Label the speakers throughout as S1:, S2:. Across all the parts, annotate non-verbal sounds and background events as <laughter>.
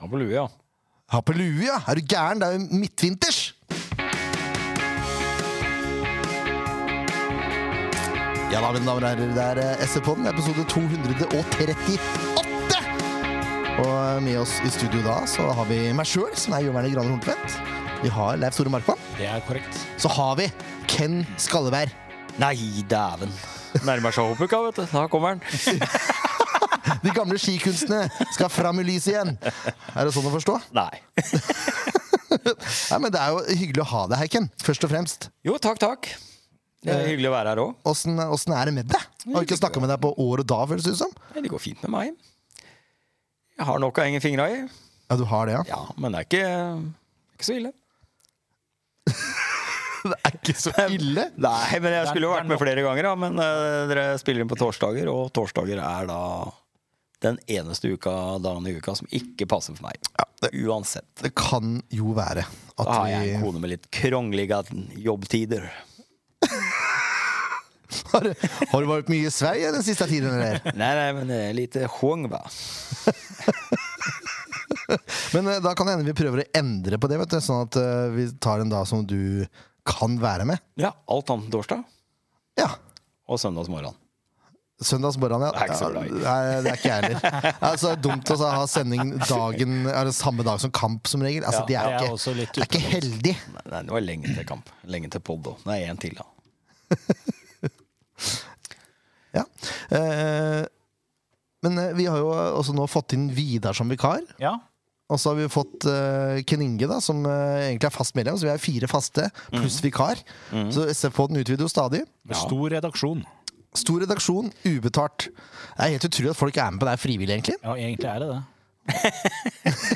S1: Ja, på lue, ja.
S2: Ha på lue, ja! Er du gæren? Det er jo midtvinters! Ja da, mine damer og herrer, det er eh, SV-podden, episode 238! Og eh, med oss i studio da så har vi meg sjøl, som er Jørn Werner Graner Horntvedt. Vi har Leif Tore Markmann.
S1: Det er korrekt.
S2: Så har vi Ken Skalleberg.
S3: Nei, dæven.
S1: Nærmer seg Hopuka, vet du. Da kommer han.
S2: De gamle skikunstene skal fram i lyset igjen! Er det sånn å forstå?
S3: Nei.
S2: Nei, men Det er jo hyggelig å ha deg her, Ken. Først og fremst.
S1: Jo, takk, takk. Det er hyggelig å være her òg.
S2: Åssen åssen er det med deg? Har ikke snakka med deg på år og da, føles det ut som.
S1: Det går fint med meg. Jeg har nok å henge fingra i.
S2: Ja, du har det, ja?
S1: Ja, men det er ikke, ikke så ille.
S2: Det er ikke så ille.
S1: Nei, men jeg skulle jo
S3: Det er
S1: vært med flere ganger, da. Men eh, dere spiller inn på torsdager, og torsdager er da den eneste uka, dagen i uka som ikke passer for meg. Uansett.
S2: Det kan jo være at
S1: Da har Ah, jeg
S2: vi
S1: en kone med litt krongliga jobbtider.
S2: har, har du vært mye i Sverige den siste tiden, eller?
S1: Nei, nei, men det er litt huang, da.
S2: Men eh, da kan det hende vi prøver å endre på det, vet du. Sånn at eh, vi tar en dag som du kan være med.
S1: Ja, alt annet enn torsdag
S2: Ja.
S1: og søndagsmorgen.
S2: Søndagsmorgen, ja.
S1: Det er ikke så bra.
S2: Ja, Nei, det er ikke jeg heller. Altså, det er dumt å ha sending dagen Er det samme dag som kamp, som regel. Altså,
S1: Ja,
S2: det
S3: jeg er
S2: er jo
S3: også
S2: ikke,
S3: litt
S2: det er ikke heldig.
S1: Nei, nei, det var lenge til kamp. Lenge til pod òg. Nei, en til, da.
S2: Ja. Eh, men eh, vi har jo også nå fått inn Vidar som vikar.
S3: Ja.
S2: Og så har vi fått uh, Ken Inge, da, som eh, egentlig er fast medlem. Så vi er fire faste, pluss vikar. Så SF-poden utvider jo stadig.
S3: Med stor redaksjon.
S2: Stor redaksjon, ubetalt. Det er helt utrolig at folk er med på det her frivillig, egentlig. <laughs>
S3: Ja, egentlig er det det.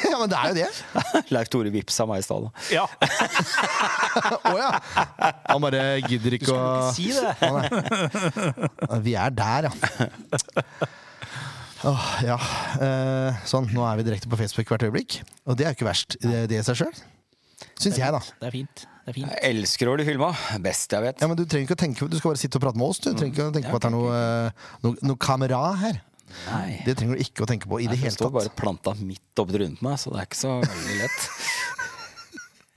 S2: ja, men det er jo det.
S1: <laughs>
S2: <laughs>
S1: Leif Tore vippsa meg i stad. da.
S3: Ja,
S2: Å ja. Han bare gidder ikke å
S3: <laughs> si det!
S2: Å, nei. Vi er der, ja. Åh, ja. Eh, sånn, nå er vi direkte på Facebook hvert øyeblikk. Og det er jo ikke verst i det, det i seg sjøl. Syns jeg, da.
S3: Det er fint. Det er fint.
S1: Jeg elsker å bli filma. Best jeg vet.
S2: Ja, men Du trenger ikke å tenke Du skal bare sitte og prate med oss. Du trenger ikke å tenke på at det er noe, eh, noe, noe kamera her.
S1: Nei.
S2: Det trenger du ikke å tenke på i det
S1: Jeg
S2: hele
S1: står
S2: tatt.
S1: bare planta midt opp rundt meg, så det er ikke så veldig lett.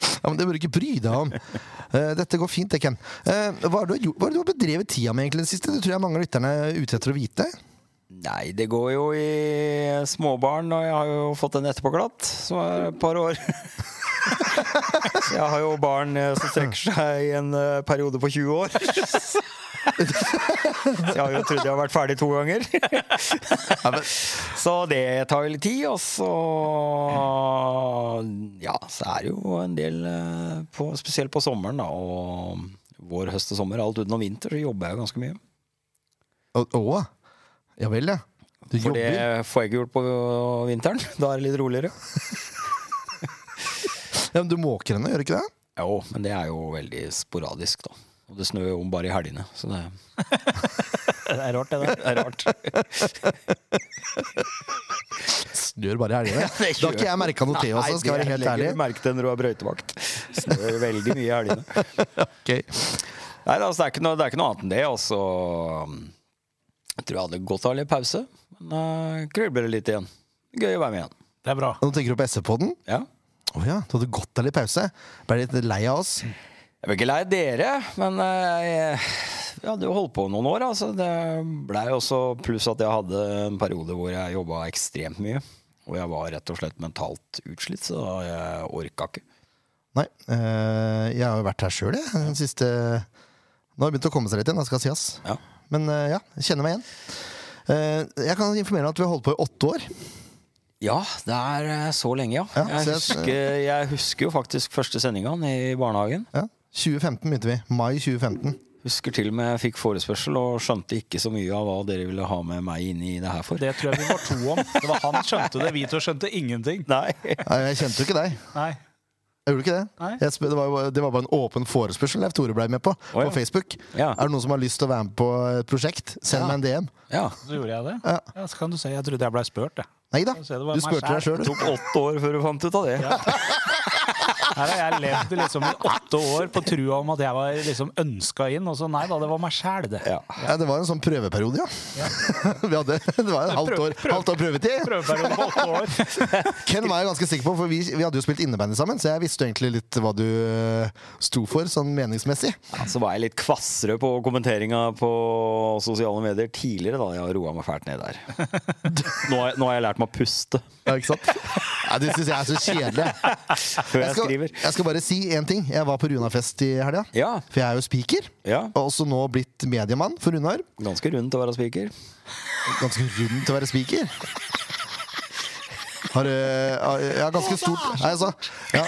S2: Ja, men Det bør du ikke bry deg om. Eh, dette går fint, det, Ken. Eh, hva er det du har gjort- hva er det du har bedrevet tida med egentlig det siste? Det tror jeg mange av lytterne er ute etter å vite.
S1: Nei, det går jo i småbarn, og jeg har jo fått en etterpåklatt som er et par år. Så Jeg har jo barn eh, som strekker seg i en eh, periode på 20 år. Så jeg har jo trodd jeg har vært ferdig to ganger. Så det tar jo litt tid, og så Ja, så er det jo en del eh, på, Spesielt på sommeren, da, og vår, høst og sommer. Alt utenom vinter, så jobber jeg jo ganske mye.
S2: Å, å, ja vel, ja. Du
S1: For
S2: jobber.
S1: det får jeg ikke gjort på vinteren. <laughs> Da er det litt roligere.
S2: Ja, men du måker henne, gjør du ikke det?
S1: Jo, men det er jo veldig sporadisk, da. Og det snør jo om bare i helgene, så det
S3: Det er rart, det der.
S1: er rart.
S2: Snør bare i
S1: <laughs>
S2: helgene.
S1: det
S2: Da har ikke jeg merka noe til, også, skal jeg være helt
S1: Legger du
S2: ærlig.
S1: merke til når du har brøytevakt. Snør veldig mye i
S2: <laughs>
S1: helgene.
S2: Ok.
S1: Nei, altså, det, er ikke noe, det er ikke noe annet enn det. Altså, jeg tror jeg hadde godt av litt pause, men uh, kribler det litt igjen. Gøy å være med igjen.
S3: Det er bra.
S2: Nå tenker du på SV-poden?
S1: Ja.
S2: Å ja, du hadde godt av litt pause? Ble litt lei av oss?
S1: Jeg vil ikke lei dere, men eh, jeg, jeg hadde jo holdt på noen år. Altså. Det blei også pluss at jeg hadde en periode hvor jeg jobba ekstremt mye. Og jeg var rett og slett mentalt utslitt, så jeg orka ikke.
S2: Nei. eh, jeg har jo vært her sjøl, jeg. Den siste Nå har det begynt å komme seg litt igjen, det skal sies.
S1: Ja.
S2: Men eh, ja, jeg kjenner meg igjen. Eh, jeg kan informere om at vi har holdt på i åtte år.
S1: Ja, det er eh, så lenge, ja.
S2: Ja,
S1: jeg,
S2: så jeg-
S1: husker, jeg husker jo faktisk første sendinga i barnehagen.
S2: Ja. 2015 begynte vi. Mai 2015.
S1: Husker til og med jeg fikk forespørsel og skjønte ikke så mye av hva dere ville ha med meg inn i det her for.
S3: Det tror jeg vi var to om. Det var Han skjønte det, vi to skjønte ingenting.
S1: Nei.
S2: Nei, jeg kjente jo ikke deg.
S3: Nei.
S2: Jeg gjorde ikke det.
S3: Nei.
S2: Jeg spør, det, var, jo- det var bare en åpen forespørsel Leif Tore ble med på.
S1: Å, ja.
S2: På Facebook.
S1: Ja.
S2: Er det noen som har lyst til å være med på et prosjekt? Send
S1: Ja.
S2: meg en DM.
S1: Ja.
S3: Så gjorde jeg det.
S2: Ja.
S3: Ja, så kan du se. Jeg trodde jeg blei spurt, jeg.
S2: Nei da.
S3: Jeg ser det var
S2: Du
S3: meg
S2: spurte deg
S3: selv.
S2: sjøl,
S1: Det
S2: du.
S1: tok åtte år før du fant ut av det.
S3: Her har jeg levd liksom i åtte år på trua om at jeg var liksom ønska inn, og så nei da, det var meg sjæl, det.
S1: Ja.
S2: Ja, det var en sånn prøveperiode, ja. <laughs> Vi hadde, det var en halvt år, halvt år prøvetid.
S3: Prøveperiode på åtte år.
S2: Ken var jeg ganske sikker på, for vi, vi hadde jo spilt innebandy sammen, så jeg visste jo egentlig litt hva du eh, sto for, sånn meningsmessig.
S1: Ja, Så var jeg litt kvassere på kommenteringa på sosiale medier tidligere. da Jeg har roa meg fælt ned der. <laughs> Nå har, jeg- nå har jeg lært meg å puste
S2: Ja, ikke sant? Ja, det syns jeg er så kjedelig.
S1: <laughs> før jeg
S2: skal,
S1: skriver.
S2: jeg skal bare si én ting. Jeg var på Runarfest i helga.
S1: Ja.
S2: For jeg er jo speaker,
S1: Ja.
S2: og også nå blitt mediemann for Runar.
S1: Ganske rund til å være spiker.
S2: Ganske rund til å være speaker. Har, øh, har- jeg har ganske stort Nei, altså, ja.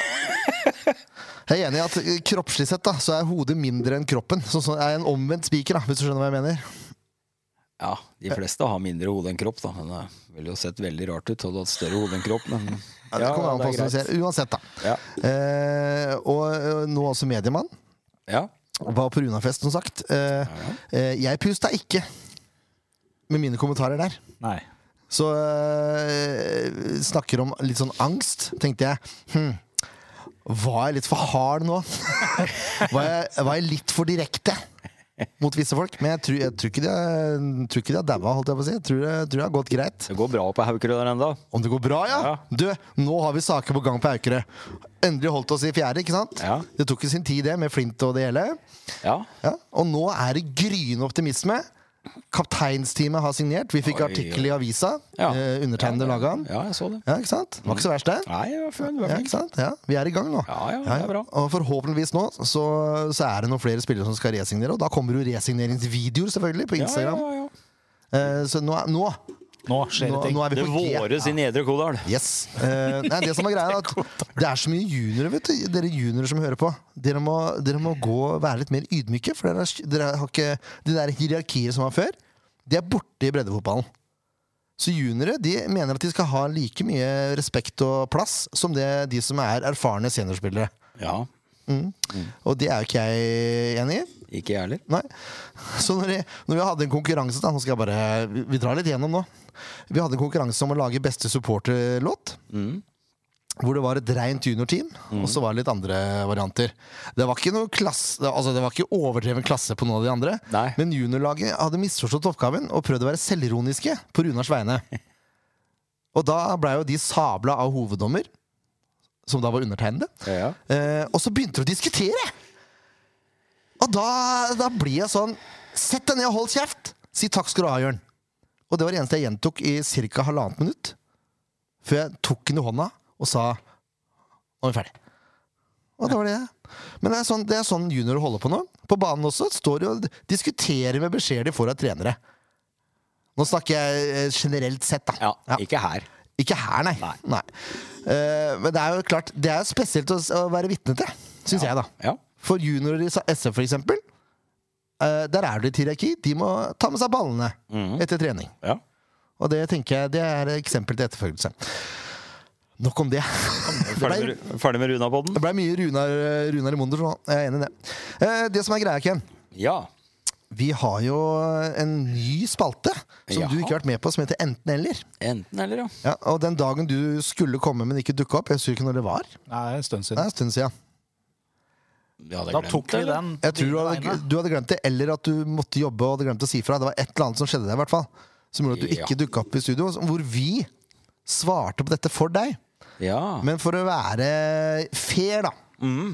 S2: Jeg er enig i at øh, kroppslig sett da, så er hodet mindre enn kroppen. Så, så jeg er en omvendt speaker, da, hvis du skjønner hva jeg mener.
S1: Ja, De fleste har mindre hode enn kropp, da. Men det ville jo sett veldig rart ut hadde du hatt større hode enn kropp. Men
S2: Ja, det kommer an på hvordan du ser. Uansett, da.
S1: Ja.
S2: Eh, og øh, nå også mediemann.
S1: Ja.
S2: Var på Runarfest, som sagt. Eh, eh, jeg pusta ikke med mine kommentarer der.
S3: Nei.
S2: Så øh, snakker om litt sånn angst, tenkte jeg. Hm, var jeg litt for hard nå? <laughs> var, jeg, var jeg litt for direkte mot visse folk? Men jeg tror, jeg tror ikke de er- tror ikke de har daua, holdt jeg på å si. Jeg tror, det- jeg tror det har gått greit.
S1: Det går bra på Haukerud der ennå.
S2: Om det går bra, ja?
S1: Ja.
S2: Du, nå har vi saker på gang på Aukerø. Endelig holdt oss i fjerde, ikke sant?
S1: Ja.
S2: Det tok jo sin tid, det, med flint og det hele.
S1: Ja.
S2: Ja, og nå er det gryende optimisme. Kapteinsteamet har signert. Vi fikk
S1: Oi,
S2: artikkel i avisa.
S1: Ja.
S2: Eh, undertegnede laga den.
S1: ja, jeg så det.
S2: Ja, ikke sant? Det var ikke så verst, det.
S1: Nei, jeg var fun, du
S2: Ja,
S1: var flink.
S2: ikke sant? Ja, vi er i gang nå.
S1: Ja, ja, det er bra.
S2: Og forhåpentligvis nå så, så er det noen flere spillere som skal resignere. Og da kommer jo resigneringsvideoer selvfølgelig
S1: Ja,
S2: på
S1: ja,
S2: Instagram.
S1: ja, ja.
S2: Eh, så nå, er- nå,
S3: Nå skjer
S2: nå,
S3: det ting.
S2: nå er vi
S1: Det
S2: på G.
S1: våres i Nedre Kodal.
S2: Yes. Eh, nei, det som er greia er at det er så mye juniorer, vet du. Dere juniorer som hører på. Dere må, dere må gå og være litt mer ydmyke, for dere, er- dere har ikke de der hierarkier som var før. De er borte i breddefotballen. Så juniorer de mener at de skal ha like mye respekt og plass som det de som er erfarne seniorspillere.
S1: Ja,
S2: Og det er jo ikke jeg enig i.
S1: ikke jeg heller.
S2: Nei. Så når, jeg, når vi hadde en konkurranse da, nå skal jeg bare, vi, vi drar litt gjennom nå. Vi hadde en konkurranse om å lage beste supporterlåt. Hvor det var et rent juniorteam, og så var det litt andre varianter. Det var ikke noe klasse, altså det var ikke overdreven klasse på noen av de andre.
S1: Nei.
S2: Men juniorlaget hadde misforstått oppgaven og prøvd å være selvironiske på Runars vegne. Og da blei jo de sabla av hoveddommer, som da var undertegnede.
S1: Ja, ja.
S2: Eh, og så begynte de å diskutere! Og da, da blir jeg sånn Sett deg ned og hold kjeft! Si takk skal du ha, Jørn. Og det var det eneste jeg gjentok i ca. halvannet minutt. Før jeg tok henne i hånda og sa Nå er vi ferdig. Og det var det. Men det er sånn, det er sånn juniorer holder på nå. På banen også står de og diskuterer med beskjeder de får av trenere. Nå snakker jeg eh, generelt sett, da.
S1: ja,
S2: Ja.
S1: ikke her.
S2: Ikke her, nei.
S1: Nei.
S2: Eh, men det er jo klart, det er spesielt å, s- å være vitne til, syns jeg, da.
S1: Ja.
S2: For juniorer i sa- SF, for eksempel, eh, der er det et hierarki. De må ta med seg ballene
S1: Mhm.
S2: etter trening.
S1: ja.
S2: Og det tenker jeg, det er eksempel til etterfølgelse. Nok om det. <laughs> Det
S1: Ferdig,
S2: ble,
S1: med, Ru- ferdig med Runapodden?
S2: det ble mye Runar, eh, Runar i Monder, så jeg er enig i det. Eh, det som er greia, Ken,
S1: Ja.
S2: vi har jo en ny spalte som du
S1: Jaha.
S2: ikke har vært med på, som heter Enten eller.
S1: Enten eller, ja.
S2: Ja, og den dagen du skulle komme, men ikke dukke opp, jeg husker ikke når det var.
S3: Nei, det er en stund
S2: Det er
S3: siden.
S2: en stund siden.
S1: Vi hadde
S3: Da
S1: glemt
S3: tok vi
S1: det, eller?
S3: den.
S2: Jeg tror du
S3: dine
S2: hadde,
S3: vegne.
S2: du hadde glemt det, eller at du måtte jobbe og hadde glemt å si fra. Det var et eller annet som skjedde der, i hvert fall. Som gjorde at du
S1: Ja.
S2: ikke dukka opp i studio. Hvor vi svarte på dette for deg.
S1: Ja.
S2: Men for å være fair, da,
S1: Mm.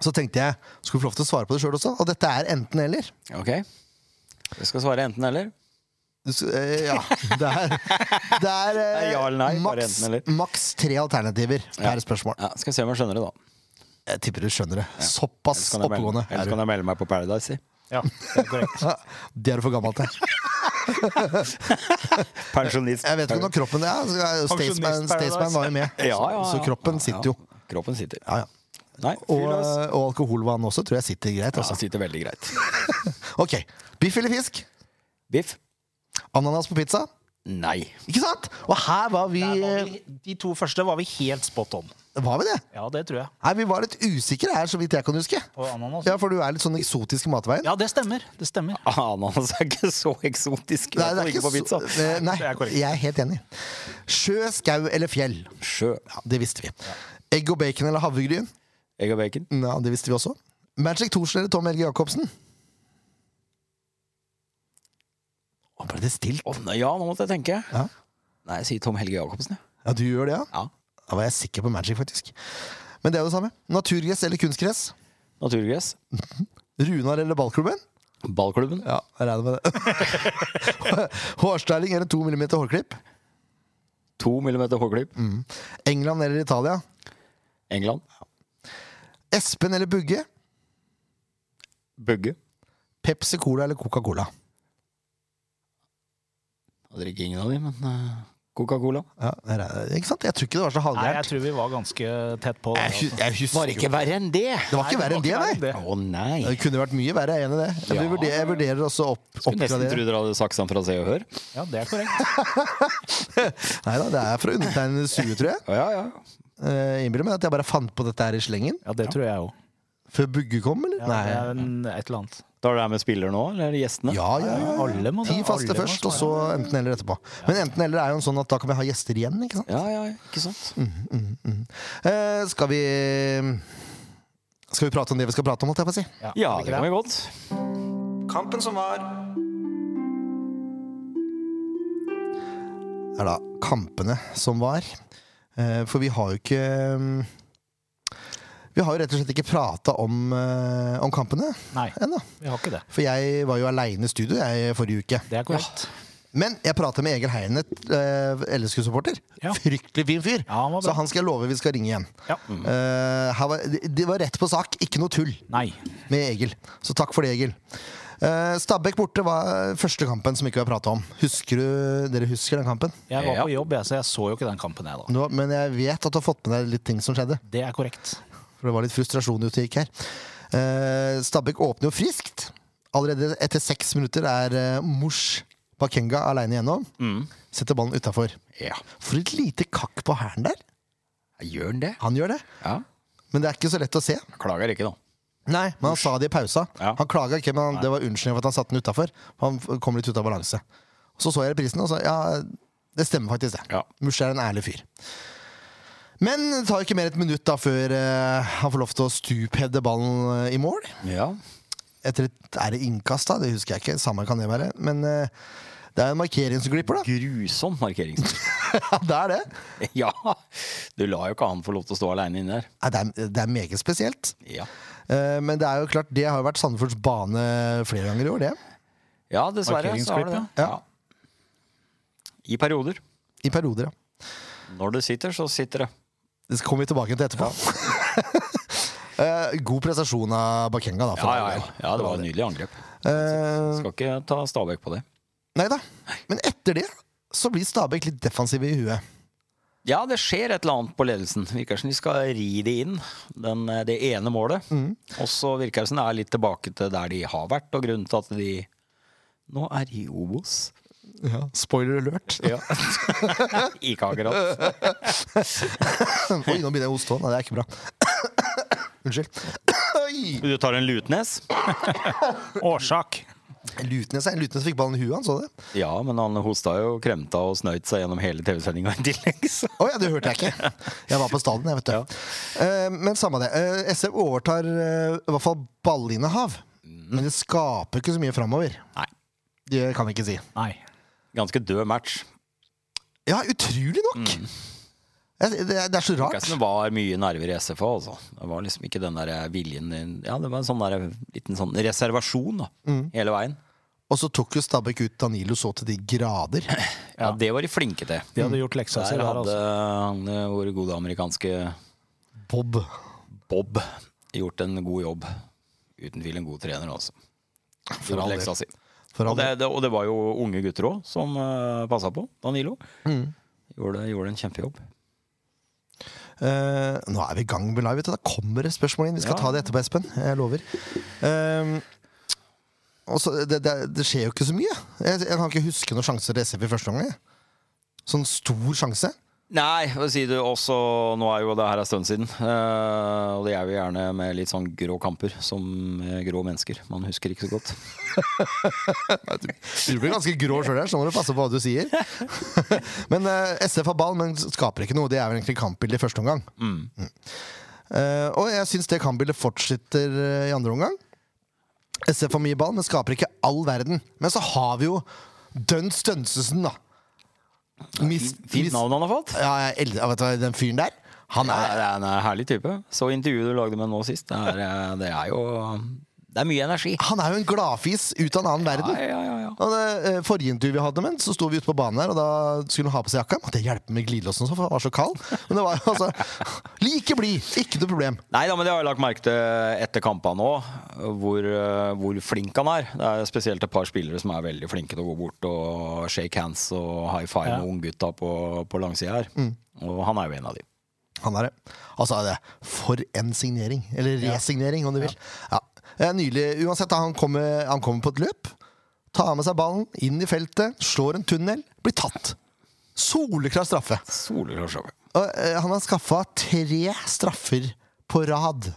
S2: så tenkte jeg skulle vi få lov til å svare på det sjøl også. Og dette er enten-eller.
S1: Ok. Jeg skal svare enten eller.
S2: eh, Ja. Det
S1: <laughs>
S2: er, det er, eh,
S1: Nei, ja eller nei, bare
S2: maks,
S1: enten-eller.
S2: maks tre alternativer per spørsmål.
S1: Ja, skal vi se om jeg skjønner det, da.
S2: Jeg tipper du skjønner det. Såpass
S1: Ellers kan jeg melde,
S2: oppegående
S1: ellers
S2: er du.
S1: kan jeg melde meg på Paradise. si.
S3: Ja, det er korrekt.
S2: Ja, <laughs> Det er du for gammel til.
S1: Pensjonist.
S2: Jeg vet ikke om det er kroppen det er. Staysman,
S3: Pensjonist
S2: Staysman var jo med,
S1: Ja, ja, ja.
S2: så kroppen sitter jo.
S1: Ja, Kroppen sitter.
S2: Ja, ja.
S1: Nei,
S2: Og, eh,
S1: fyr løs.
S2: og alkoholvann også tror jeg sitter greit.
S1: Ja,
S2: Altså.
S1: sitter veldig greit.
S2: Ok, Biff eller fisk?
S1: Biff?
S2: Ananas på pizza?
S1: Nei. <laughs>
S2: Ikke sant? Og her var vi
S3: Der var vi, de to første var vi helt spot on.
S2: Var vi det?
S3: Ja, det tror jeg.
S2: Nei, Vi var litt usikre her, så vidt jeg kan huske.
S3: På ananas.
S2: Ja, For du er litt sånn eksotisk i matveien.
S3: Ja, det stemmer. Det stemmer.
S1: Ananas er ikke så eksotisk. Nei, det er ikke på pizza.
S2: så, eh, Nei,
S3: Det er korrekt.
S2: jeg er helt enig. Sjø, skau eller fjell?
S1: Sjø.
S2: Ja, Det visste vi. Egg og bacon eller havregryn?
S1: Egg og bacon.
S2: Ja, det visste vi også. Magic Thorsen eller Tom Helge Jacobsen? Å, ble det stilt?
S1: Å, nei, ja, nå måtte jeg tenke.
S2: Ja.
S1: Nei, jeg sier Tom Helge Jacobsen, jeg.
S2: Ja, du gjør det, ja?
S1: Ja.
S2: Da var jeg sikker på Magic, faktisk. Men det er jo det samme. Naturgress eller kunstgress?
S1: Naturgress.
S2: Runar eller ballklubben?
S1: Ballklubben.
S2: Ja, jeg regner med det. <laughs> Hårstyling eller to millimeter hårklipp?
S1: To millimeter hårklipp.
S2: Mm. England eller Italia?
S1: England.
S2: Espen eller Bugge?
S1: Bugge.
S2: Pepsi Cola eller Coca-Cola?
S1: Jeg drikker ingen av de, men eh, Coca-Cola.
S2: Ja, jeg regner- ikke sant? Jeg tror ikke det var så
S3: Nei, jeg
S2: halvgærent.
S3: tror vi var ganske tett på. Altså.
S2: Jeg, hu- jeg husker
S1: Var det ikke verre enn det?
S2: Det var ikke verre enn det, nei.
S1: Å nei.
S2: Det kunne vært mye verre, jeg er enig i det. Jeg,
S1: Ja.
S2: vurderer, jeg vurderer også opp,
S1: Skulle nesten tro
S2: oppgradere.
S1: dere hadde sagt sånn fra Se og Hør.
S3: Ja, det er korrekt.
S2: Nei da, det er fra undertegnede Sue, tror jeg.
S1: Å, Ja, ja.
S2: Eh, Innbiller meg at jeg bare fant på dette her i slengen.
S3: Ja, det tror jeg òg.
S2: Før Bugge kom, eller?
S3: Ja, det er en- et eller annet.
S1: Da er det her med spiller nå, eller gjestene?
S2: Ja, ja, ja.
S3: Alle må
S2: Ti faste
S3: alle må
S2: først,
S3: svare.
S2: og så enten eller etterpå. Men enten eller er jo en sånn at da kan vi ha gjester igjen, ikke sant? Mm,
S1: ja, ja, ikke sant?
S2: Eh, skal vi Skal vi prate om det vi skal prate om, holdt jeg på å si?
S1: Ja,
S3: er
S1: det
S3: ikke
S1: kan vi godt.
S4: Kampen som var.
S2: Er da kampene som var. Eh, for vi har jo ikke mm, Vi har jo rett og slett ikke prata om, eh, om kampene
S3: Nei,
S2: ennå.
S3: vi har ikke det.
S2: For jeg var jo aleine i studio jeg forrige uke.
S3: Det er korrekt.
S2: Men jeg prata med Egil Heinet, eh, LSK-supporter.
S3: Ja.
S2: Fryktelig fin fyr.
S3: Ja, han var bra.
S2: så han skal jeg love vi skal ringe igjen.
S3: Ja.
S2: Eh, her var, det, det var rett på sak, ikke noe tull
S3: Nei.
S2: med Egil. Så takk for det, Egil. Eh, Stabæk borte var første kampen som ikke var prata om. Husker du, Dere husker den kampen?
S3: Jeg var
S1: Ja.
S3: på jobb, jeg, så jeg så jo ikke den kampen, jeg, da.
S2: Nå, men jeg vet at du har fått med deg litt ting som skjedde.
S3: Det er korrekt.
S2: For det var litt frustrasjon ute og gikk her. Eh, Stabæk åpner jo friskt. Allerede etter seks minutter er eh, Mors Bakenga aleine igjennom. Setter ballen utafor.
S1: Ja,
S2: For et lite kakk på hæren der.
S1: gjør den det?
S2: Han gjør det,
S1: Ja,
S2: men det er ikke så lett å se.
S1: jeg klager ikke da.
S2: Nei, Men han sa det i pausa.
S1: Ja.
S2: Han klaga ikke, men han, det var unnskyldning for at han satte den utafor. Han f- kom litt ut av balanse. Så så jeg reprisen, og så ja, det stemmer faktisk, det.
S1: Ja.
S2: Mush er en ærlig fyr. Men det tar ikke mer enn et minutt da før eh, han får lov til å stupheade ballen eh, i mål.
S1: Ja,
S2: Etter et er det innkast, da? Det husker jeg ikke. Samme kan det være. Men eh, det er en markering som glipper, da. <laughs>
S1: grusom markeringsstil.
S2: Ja, det er det.
S1: <laughs> ja, du la jo ikke han få lov til å stå alene inne der.
S2: Nei, det, er, det er meget spesielt.
S1: Ja,
S2: Eh, Men det er jo klart, det har jo vært Sandefjords bane flere ganger i år, det.
S1: ja dessverre så har du det.
S3: Markeringsklipp,
S2: ja.
S1: I perioder.
S2: I perioder, ja.
S1: Når det sitter, så sitter det.
S2: Det kommer vi tilbake til etterpå. <laughs> Eh, God prestasjon av Bakenga, da. for
S1: Ja, ja,
S2: all
S1: ja.
S2: del.
S1: ja det var et nydelig angrep.
S2: Eh,
S1: Skal ikke ta Stabæk på det.
S2: Nei da. Men etter det så blir Stabæk litt defensive i huet.
S1: Ja, det skjer et eller annet på ledelsen. Virker som de skal ri det inn, den, eh, det ene målet. Og så virker det som det er litt tilbake til der de har vært, og grunnen til at de nå er i Obos.
S2: Spoiler <laughs> alert.
S1: <laughs> Ja. ikke akkurat.
S2: Oi, nå begynner jeg å hoste òg. Nei, det er ikke bra. <coughs> Unnskyld. Oi!
S1: Du tar en Lutnes? <laughs>
S3: Årsak.
S2: Lutnes, eh, Lutnes fikk ballen i huet, han så det.
S1: Ja, men han hosta jo, kremta og snøyt seg gjennom hele TV-sendinga i tillegg. Så.
S2: Å ja, det hørte jeg ikke. Jeg var på stadion, jeg, vet du. Eh, men samme det. Eh, SF overtar eh, i hvert fall ballinnehav. Men det skaper ikke så mye framover.
S1: Mm. Nei.
S2: Det kan vi ikke si.
S3: Nei.
S1: Ganske død match.
S2: Ja, utrolig nok! Jeg, det, er- det er så
S1: Det
S2: rart.
S1: som det var mye nerver i SFA, altså. Det var liksom ikke den der viljen din Ja, det var en sånn der, liten sånn reservasjon da, hele veien.
S2: Og så tok jo Stabæk ut Danilo så til de grader.
S1: Ja, Det var de flinke til.
S3: De hadde gjort leksa si
S1: Der
S3: der,
S1: hadde
S3: altså.
S1: han, eh, vår gode amerikanske
S2: Bob.
S1: Bob gjort en god jobb. Uten tvil en god trener, altså.
S2: For all del.
S1: Si.
S2: For
S1: Og,
S2: all
S1: det,
S2: del.
S1: det, og det var jo unge gutter òg som uh, passa på. Danilo. Mm. Gjorde, gjorde en kjempejobb.
S2: Eh, nå er vi i gang med live. vet du. Da kommer det spørsmål inn. Vi skal
S1: Ja.
S2: ta det etterpå, Espen. Jeg lover. Eh, og så, det, det, det skjer jo ikke så mye. Jeg, jeg kan ikke huske noen sjanser til SF i første omgang. jeg. Sånn stor sjanse.
S1: Nei, hva sier du også Nå er jo det her en stund siden. eh, og det er jo gjerne med litt sånn grå kamper som eh, grå mennesker. Man husker ikke så godt.
S2: Du blir ganske grå sjøl her, så nå må du passe på hva du sier. <laughs> men eh, SF har ball, men skaper ikke noe. Det er vel egentlig kampbildet i første omgang. Mm. Eh, og jeg syns det kampbildet fortsetter eh, i andre omgang. SF har mye ball, men skaper ikke all verden. Men så har vi jo Dønn Stønsesen, da. Mis- mis-
S1: Fint navn han har fått.
S2: Ja, jeg eldre, vet du, hva, den fyren der. Han
S1: Ja,
S2: er
S1: det er en eh, herlig type. Så intervjuet du lagde med nå sist, det er, eh, det er jo Det er mye energi.
S2: han er jo en gladfis ut av en annen verden.
S1: Ja, ja, ja, ja.
S2: Og det eh, Forrige intervju vi hadde med han, så sto vi ute på banen her, og da skulle han ha på seg jakka. Måtte jeg hjelpe med glidelåsen, også, for han var så kald. Men det var <laughs> jo altså Like blid! Ikke noe problem.
S1: Nei da, men det har jeg lagt merke til etter kampene òg, hvor, eh, hvor flink han er. Det er spesielt et par spillere som er veldig flinke til å gå bort og shake hands og high five
S3: Ja.
S1: med unggutta på, på langsida her. Og han er jo en av de.
S2: Han er det. Altså, det er for en signering. Eller resignering, om du vil. Ja. Eh, Nylig, uansett, da, han kommer, han kommer på et løp. Tar med seg ballen, inn i feltet, slår en tunnel, blir tatt. Soleklar straffe.
S1: Soleklar show.
S2: Og, eh, han har skaffa tre straffer på rad.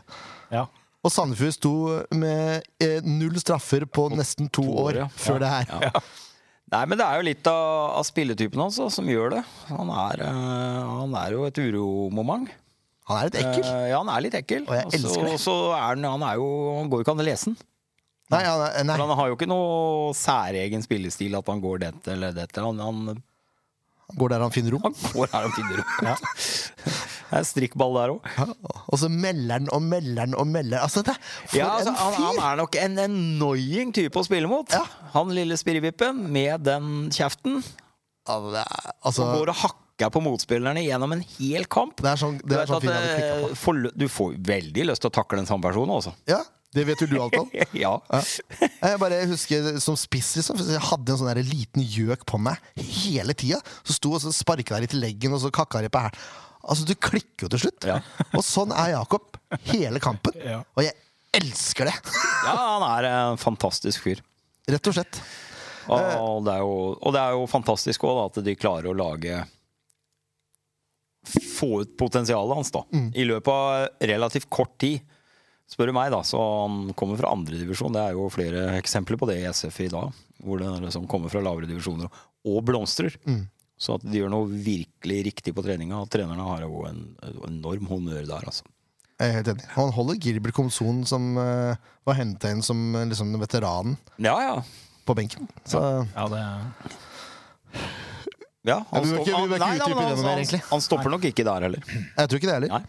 S3: Ja.
S2: Og Sandefjord sto med eh, null straffer på nesten to,
S1: år,
S2: år
S1: ja.
S2: før det her.
S1: Nei, men det er jo litt av, av spilletypen hans da, som gjør det. Han er, eh, han er jo et uromoment.
S2: Han er litt ekkel.
S1: Eh, ja, han er litt ekkel.
S2: Og jeg
S1: så-
S2: elsker det.
S1: Og så er han, han er jo Han går jo ikke an å lese den.
S2: Nei, han er, nei,
S1: For han har jo ikke noe særegen spillestil at han går dette eller dette. Han, han
S2: han går der han finner rom.
S1: Han går her og finner
S2: <laughs>
S1: opp. Det er strikkball der òg.
S2: Ja, Og så melder han og melder han og melder. Altså, det, er- for
S1: Ja, altså,
S2: en
S1: han,
S2: fyr!
S1: han er nok en annoying type å spille mot.
S2: Ja.
S1: Han lille spirrevippen med den kjeften.
S2: Ja, det er-
S1: Som
S2: altså,
S1: går og hakker på motspillerne gjennom en hel kamp.
S2: Det er sånn,
S1: Du,
S2: det er
S1: vet
S2: sånn
S1: at,
S2: film jeg hadde klikket
S1: eh,
S2: på.
S1: forlø- du får veldig lyst til å takle den samme personen, altså.
S2: Ja, det vet jo du alt om.
S1: <laughs> ja.
S2: Jeg bare husker som spiss, liksom. for Jeg hadde en sånn der liten gjøk på meg hele tida. Så sto og så sparka jeg litt i leggen, og så kakka jeg på hælen. Altså, du klikker jo til slutt.
S1: Ja.
S2: <laughs> Og sånn er Jakob hele kampen.
S3: Ja.
S2: Og jeg elsker det!
S1: ja, han er en fantastisk fyr.
S2: Rett og slett. Eh.
S1: Og det er jo, og det er jo fantastisk òg at de klarer å lage Få ut potensialet hans da
S2: Mm.
S1: i løpet av relativt kort tid. Spør du meg, da. Så han kommer fra andredivisjon. Det er jo flere eksempler på det i SF i dag. Hvor det liksom kommer fra lavere divisjoner og blomstrer.
S2: Mm.
S1: Så at de gjør noe virkelig riktig på treninga. Og trenerne har jo en en enorm honnør der, altså.
S2: Jeg er helt enig. Og han holder Gilbert Komson, som eh, var henta inn som eh, liksom, veteranen
S1: Ja, ja.
S2: på benken. Så
S3: ja, det
S1: ja
S2: Ja, vi bør ikke- vi
S1: han-
S2: bør ikke
S1: nei, nei,
S2: utdype
S1: men
S2: det noe mer,
S1: han,
S2: egentlig.
S1: han, han stopper nok ikke der heller.
S2: jeg tror ikke det heller.
S1: Nei.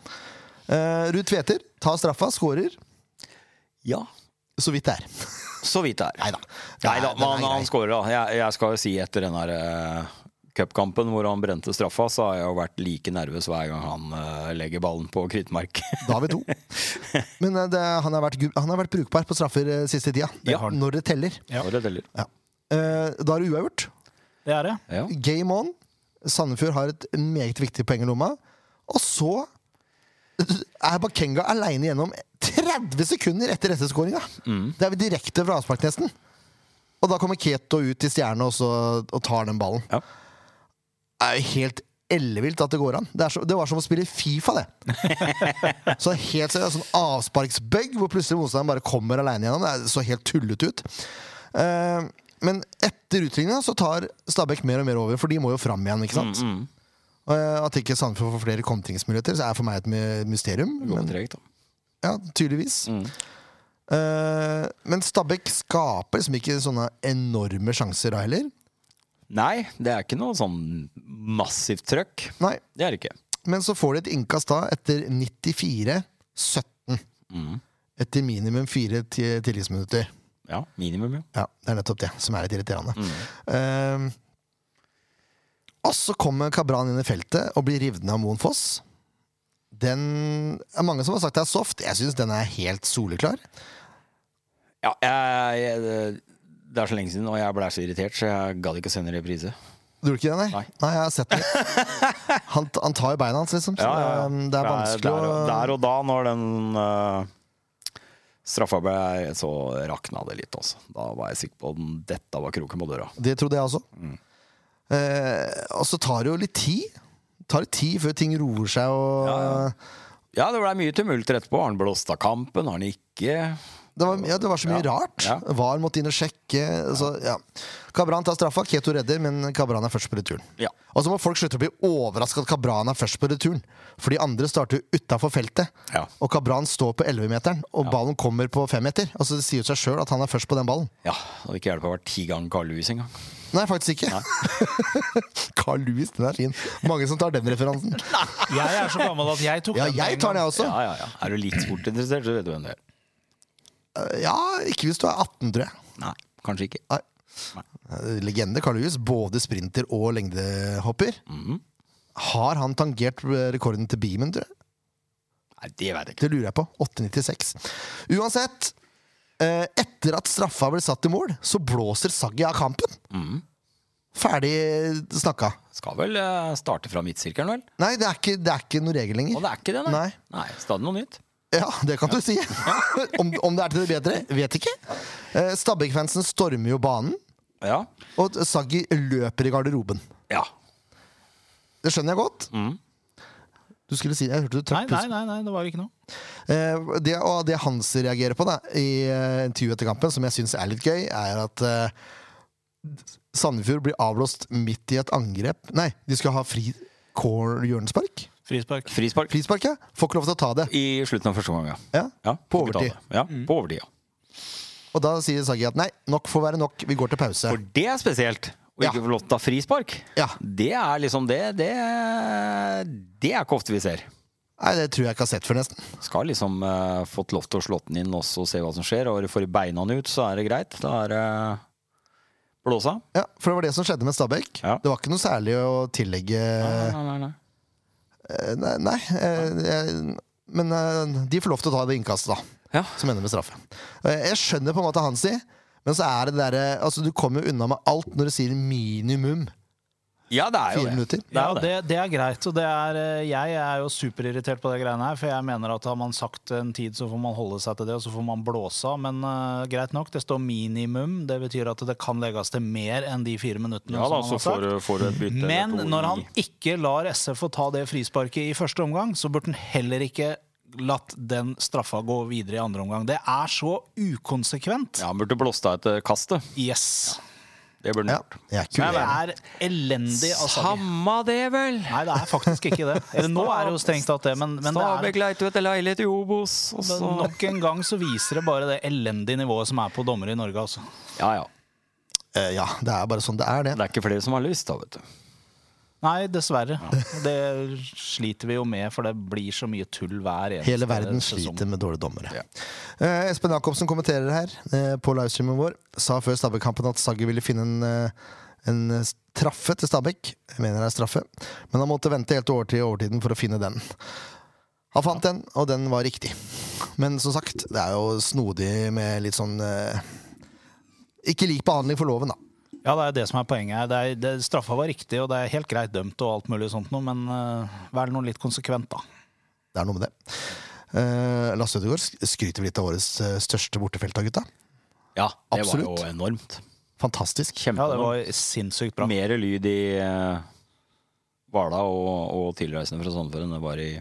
S2: Eh, Ruud Tveter tar straffa, skårer.
S1: Ja,
S2: Så vidt det er.
S1: så vidt det er.
S2: Neida.
S1: Nei da,
S2: Den er- den
S1: men han,
S2: er grei.
S1: han skårer, da. Jeg, jeg skal jo si etter den der eh, cupkampen hvor han brente straffa, så har jeg jo vært like nervøs hver gang han eh, legger ballen på <laughs> krittmark.
S2: Da har vi to. Men eh, det, han, har vært, gu- han har vært brukbar på straffer eh, siste tida.
S1: Ja.
S2: Når det teller.
S3: Ja.
S1: Når det teller.
S2: Ja. Eh, da er det uavgjort.
S3: Det er det.
S1: Ja.
S2: Game on. Sandefjord har et meget viktig poeng i lomma. Og så eh, er Bakenga aleine gjennom 30 sekunder etter SS-skåringa! Det er vi direkte fra avspark, nesten. Og da kommer Keto ut til stjerne og, så, og tar den ballen.
S1: Ja.
S2: Det er jo helt ellevilt at det går an. Det, er så, det var som å spille Fifa, det. så helt seriøst, Sånn avsparksbøgg hvor plutselig motstanderen bare kommer aleine gjennom. Det er- så helt tullete ut. Eh, men etter utligninga så tar Stabæk mer og mer over, for de må jo fram igjen. ikke sant? Eh, At ikke Sandefjord får flere kontringsmuligheter, så er for meg et my- mysterium.
S1: Det går
S2: Men,
S1: tregt, da.
S2: ja, tydeligvis. Eh, men Stabæk skaper liksom ikke sånne enorme sjanser da heller.
S1: Nei, det er ikke noe sånn massivt trøkk.
S2: Nei,
S1: Det er det ikke.
S2: Men så får de et innkast da etter 94-17. Mm. Etter minimum fire ti- tilleggsminutter.
S1: Ja, minimum, ja.
S2: Ja, det er nettopp det som er litt irriterende. Ehm, og så kommer Kabran inn i feltet og blir revet ned av Moen Foss. Den er Mange som har sagt det er soft. Jeg syns den er helt soleklar.
S1: ja jeg, jeg, det- det er så lenge siden, og jeg ble så irritert, så jeg gadd ikke å sende reprise.
S2: Du gjorde ikke det, nei?
S1: Nei.
S2: jeg har sett den. <laughs> Han, han tar jo beina hans, liksom. Så ehm, Det er vanskelig
S1: der,
S2: å
S1: og- Der og da, når den eh, straffa ble, så rakna det litt, altså. Da var jeg sikker på at den- dette var kroken på døra.
S2: Det trodde jeg også. Eh, og så tar det jo litt tid. Tar litt tid før ting roer seg og
S1: Ja, Ja, det blei mye tumult etterpå. Har han blåst av kampen? Har han ikke?
S2: Det var, ja, det var så mye
S1: Ja.
S2: rart.
S1: Ja.
S2: VAR måtte inn og sjekke. Så, ja. Kabran tar straffa, Keto redder, men Kabran er først på returen.
S1: Ja.
S2: Og så må folk slutte å bli overraska at Kabran er først på returen. For de andre starter jo utafor feltet,
S1: Ja.
S2: og Kabran står på 11-meteren. Og ballen kommer på femmeter. Altså, det sier jo seg sjøl at han er først på den ballen.
S1: Ja, det hadde ikke hjulpet å være ti ganger Carl Louis engang.
S2: Nei, faktisk ikke. <laughs> Carl Louis, den er fin. Mange som tar den referansen.
S3: Jeg er så gammel at jeg tok
S2: Ja,
S3: den
S2: jeg
S3: en
S2: tar den,
S3: gang.
S2: jeg også.
S1: Ja, ja, ja. Er du litt sportinteressert, så vet du hvem det er.
S2: Eh, Ja, ikke hvis du er 18, tror jeg.
S1: Nei, kanskje ikke.
S2: Nei. Eh, Legende Carl Lewis, både sprinter og lengdehopper.
S1: Mhm.
S2: Har han tangert eh, rekorden til Beaman, tror jeg?
S1: Nei, Det vet jeg ikke.
S2: Det lurer jeg på. 8,96. Uansett, eh, etter at straffa ble satt i mål, så blåser Saggi av kampen. Ferdig snakka.
S1: Skal vel eh, starte fra midtsirkelen, vel?
S2: Nei, det er ikke, det er ikke noe regel
S1: Og
S2: lenger.
S1: det er ikke det, nei.
S2: Nei.
S1: stadig noe nytt.
S2: Ja, det kan du si. <laughs> om, om det er til det bedre, vet ikke. Eh, Stabæk-fansen stormer jo banen,
S1: Ja.
S2: og Saggi løper i garderoben.
S1: ja. Mhm.
S2: Det skjønner jeg godt. Du skulle si, jeg hørte du
S3: Nei,
S2: trakk
S3: nei,
S2: pusten.
S3: nei, nei, det var ikke noe.
S2: Eh, det, og det Hans reagerer på da, i eh, intervjuet etter kampen, som jeg syns er litt gøy, er at eh, Sandefjord blir avblåst midt i et angrep. Nei, de skal ha fri core hjørnespark.
S3: Frispark.
S1: Frispark
S2: Frispark, ja. Får ikke lov til å ta det.
S1: i slutten av første omgang, ja.
S2: Ja.
S1: ja.
S2: På
S1: får vi ta
S2: overtid.
S1: det. Ja, på overtid, ja.
S2: Og da sier Saggi at nei, nok får være nok, vi går til pause.
S1: For det er spesielt. Å
S2: Ja.
S1: ikke få lov til å ta frispark.
S2: Ja.
S1: Det er liksom det Det, det er ikke ofte vi ser.
S2: Nei, det tror jeg ikke har sett før, nesten.
S1: Skal liksom eh, fått lov til å slå den inn også og se hva som skjer. Og får du beina den ut, så er det greit. Da er det blåsa.
S2: Ja, For det var det som skjedde med Stabæk.
S1: Ja.
S2: Det var ikke noe særlig å tillegge
S1: Nei, nei, nei.
S2: Eh, Nei, nei eh, jeg- Men eh, de får lov til å ta det innkastet, da.
S1: Ja.
S2: Som ender med straffe. Eh, Jeg skjønner på en måte Hansi, men så er det derre Altså, du kommer jo unna med alt når du sier minimum
S1: Ja, det er jo
S2: fire
S1: det.
S2: minutter.
S1: Det er
S3: Ja,
S1: jo det.
S3: det, det er greit. Og det er, eh, jeg er jo superirritert på det greiene her. For jeg mener at har man sagt en tid, så får man holde seg til det, og så får man blåse av. Men eh, greit nok, det står minimum. Det betyr at det kan legges til mer enn de fire minuttene.
S1: Ja da,
S3: som
S1: så får du,
S3: man har sagt.
S1: får du et bytte. eller
S3: Men
S1: to
S3: når
S1: i-
S3: han ikke lar SF få ta det frisparket i første omgang, så burde han heller ikke latt den straffa gå videre i andre omgang. Det er så ukonsekvent.
S1: Ja, Han burde blåst av etter kastet.
S3: Yes.
S1: Det burde
S2: Ja,
S1: han gjort.
S2: jeg er
S3: Det
S2: ikke uenig.
S3: er elendig av Sagi.
S1: Samma det, vel!
S3: Nei, det er faktisk ikke
S1: <laughs>
S3: det. Eller, nå er det jo strengt tatt det, men, men det er
S1: Stabæk leiter jo etter leilighet i Obos, og så
S3: men nok en gang så viser det bare det elendige nivået som er på dommere i Norge. Altså.
S1: Ja ja.
S2: Eh, Ja, det er bare sånn det er, det.
S1: Det er ikke flere som har lyst, da, vet du.
S3: Nei, dessverre. Det sliter vi jo med, for det blir så mye tull hver eneste
S2: Hele verden
S3: sesong.
S2: sliter med dårlige dommere. Eh, Espen Jacobsen kommenterer her eh, på livestreamen vår. Sa før Stabæk-kampen at Sagge ville finne en, eh, en straffe til Stabæk. Jeg mener det er straffe. Men han måtte vente helt til overtid, overtiden for å finne den. Han fant den, og den var riktig. Men som sagt, det er jo snodig med litt sånn eh, Ikke lik behandling for loven, da.
S3: Ja, det er det som er poenget her. Det er, det, straffa var riktig, og det er helt greit dømt og alt mulig sånt noe, men eh, vær nå litt konsekvent, da.
S2: Det er noe med det. Eh, Lasse Ødegaard sk- skryter litt av årets eh, største bortefelt, da, gutta.
S1: Ja, det
S2: Absolutt.
S1: var jo enormt.
S2: Fantastisk.
S3: Ja, det
S1: Kjempenormt.
S3: var sinnssykt bra.
S1: Mer lyd i eh, Hvala og, og tilreisende fra Sandefjord enn det var i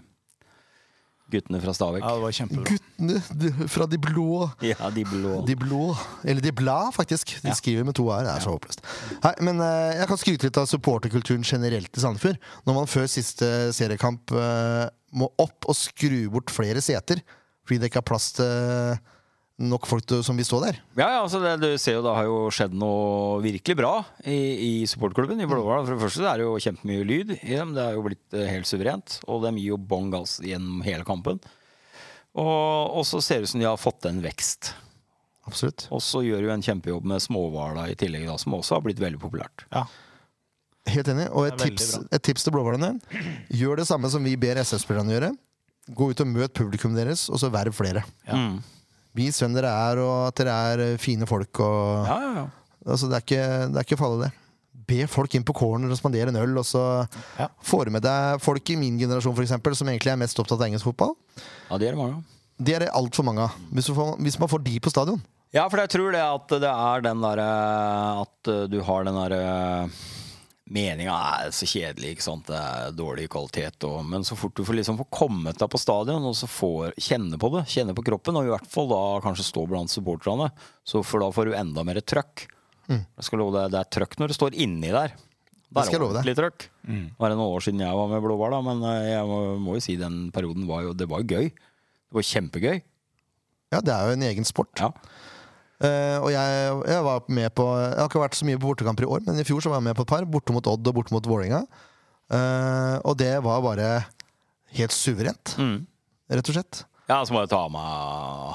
S1: guttene fra Stabæk.
S3: Ja, det var kjempebra.
S2: Guttene de- fra de blå
S1: Ja, de blå.
S2: De blå, eller de bla, faktisk. De skriver med to r. Det er så håpløst. Hei, men eh, jeg kan skryte litt av supporterkulturen generelt i Sandefjord. Når man før siste seriekamp eh, må opp og skru bort flere seter fordi det ikke er plass til eh, nok folk til, som vil stå der.
S1: Ja, ja, altså det, du ser jo det har jo skjedd noe virkelig bra i, i supportklubben i Blåhval. For det første så er det jo kjempemye lyd i dem. Det er jo blitt eh, helt suverent. Og de gir jo bånn gass gjennom hele kampen. Og, og så ser det ut som de har fått til en vekst.
S2: Absolutt.
S1: Og så gjør de jo en kjempejobb med småhvala i tillegg, da, som også har blitt veldig populært.
S3: Ja.
S2: Helt enig. Og et
S3: Det er veldig
S2: tips,
S3: bra.
S2: et tips til blåhvalene. Gjør det samme som vi ber SF-spillerne gjøre. Gå ut og møt publikum deres, og så verv flere.
S1: Mm.
S2: Vis hvem dere er, og at dere er eh, fine folk. og...
S1: Ja, ja, ja.
S2: Altså, det, er ikke, det er ikke farlig, det. Be folk inn på corner og spandere en øl, og så
S3: Ja.
S2: får du med deg folk i min generasjon for eksempel, som egentlig er mest opptatt av engelsk fotball.
S1: ja det gjør det mange.
S2: De er det altfor mange av. Hvis, du får- hvis man får de på stadion.
S1: eh, Ja, for jeg tror det at det er den derre At eh, du har den derre meninga er så kjedelig, ikke sant? det er dårlig kvalitet. Og, men så fort du får, liksom, får kommet deg på stadion og så får kjenne på det, kjenne på kroppen, og i hvert fall da kanskje stå blant supporterne, så for da får du enda mer trøkk. Jeg skal love deg, Det er trøkk når du står inni der. Det er
S2: Mm. skal jeg love deg.
S1: ordentlig trøkk. Det var noen år siden jeg var med Blåhval, da, men eh, jeg må, må jo si den perioden var jo, det var jo gøy. Det var kjempegøy.
S2: Ja, det er jo en egen sport.
S1: Ja.
S2: Eh, og jeg, jeg var med på Jeg har ikke vært så mye på bortekamper i år, men i fjor så var jeg med på et par. Borte mot Odd og borte mot Vålerenga. Eh, og det var bare helt suverent, rett og slett.
S1: Ja, så må jeg ta av meg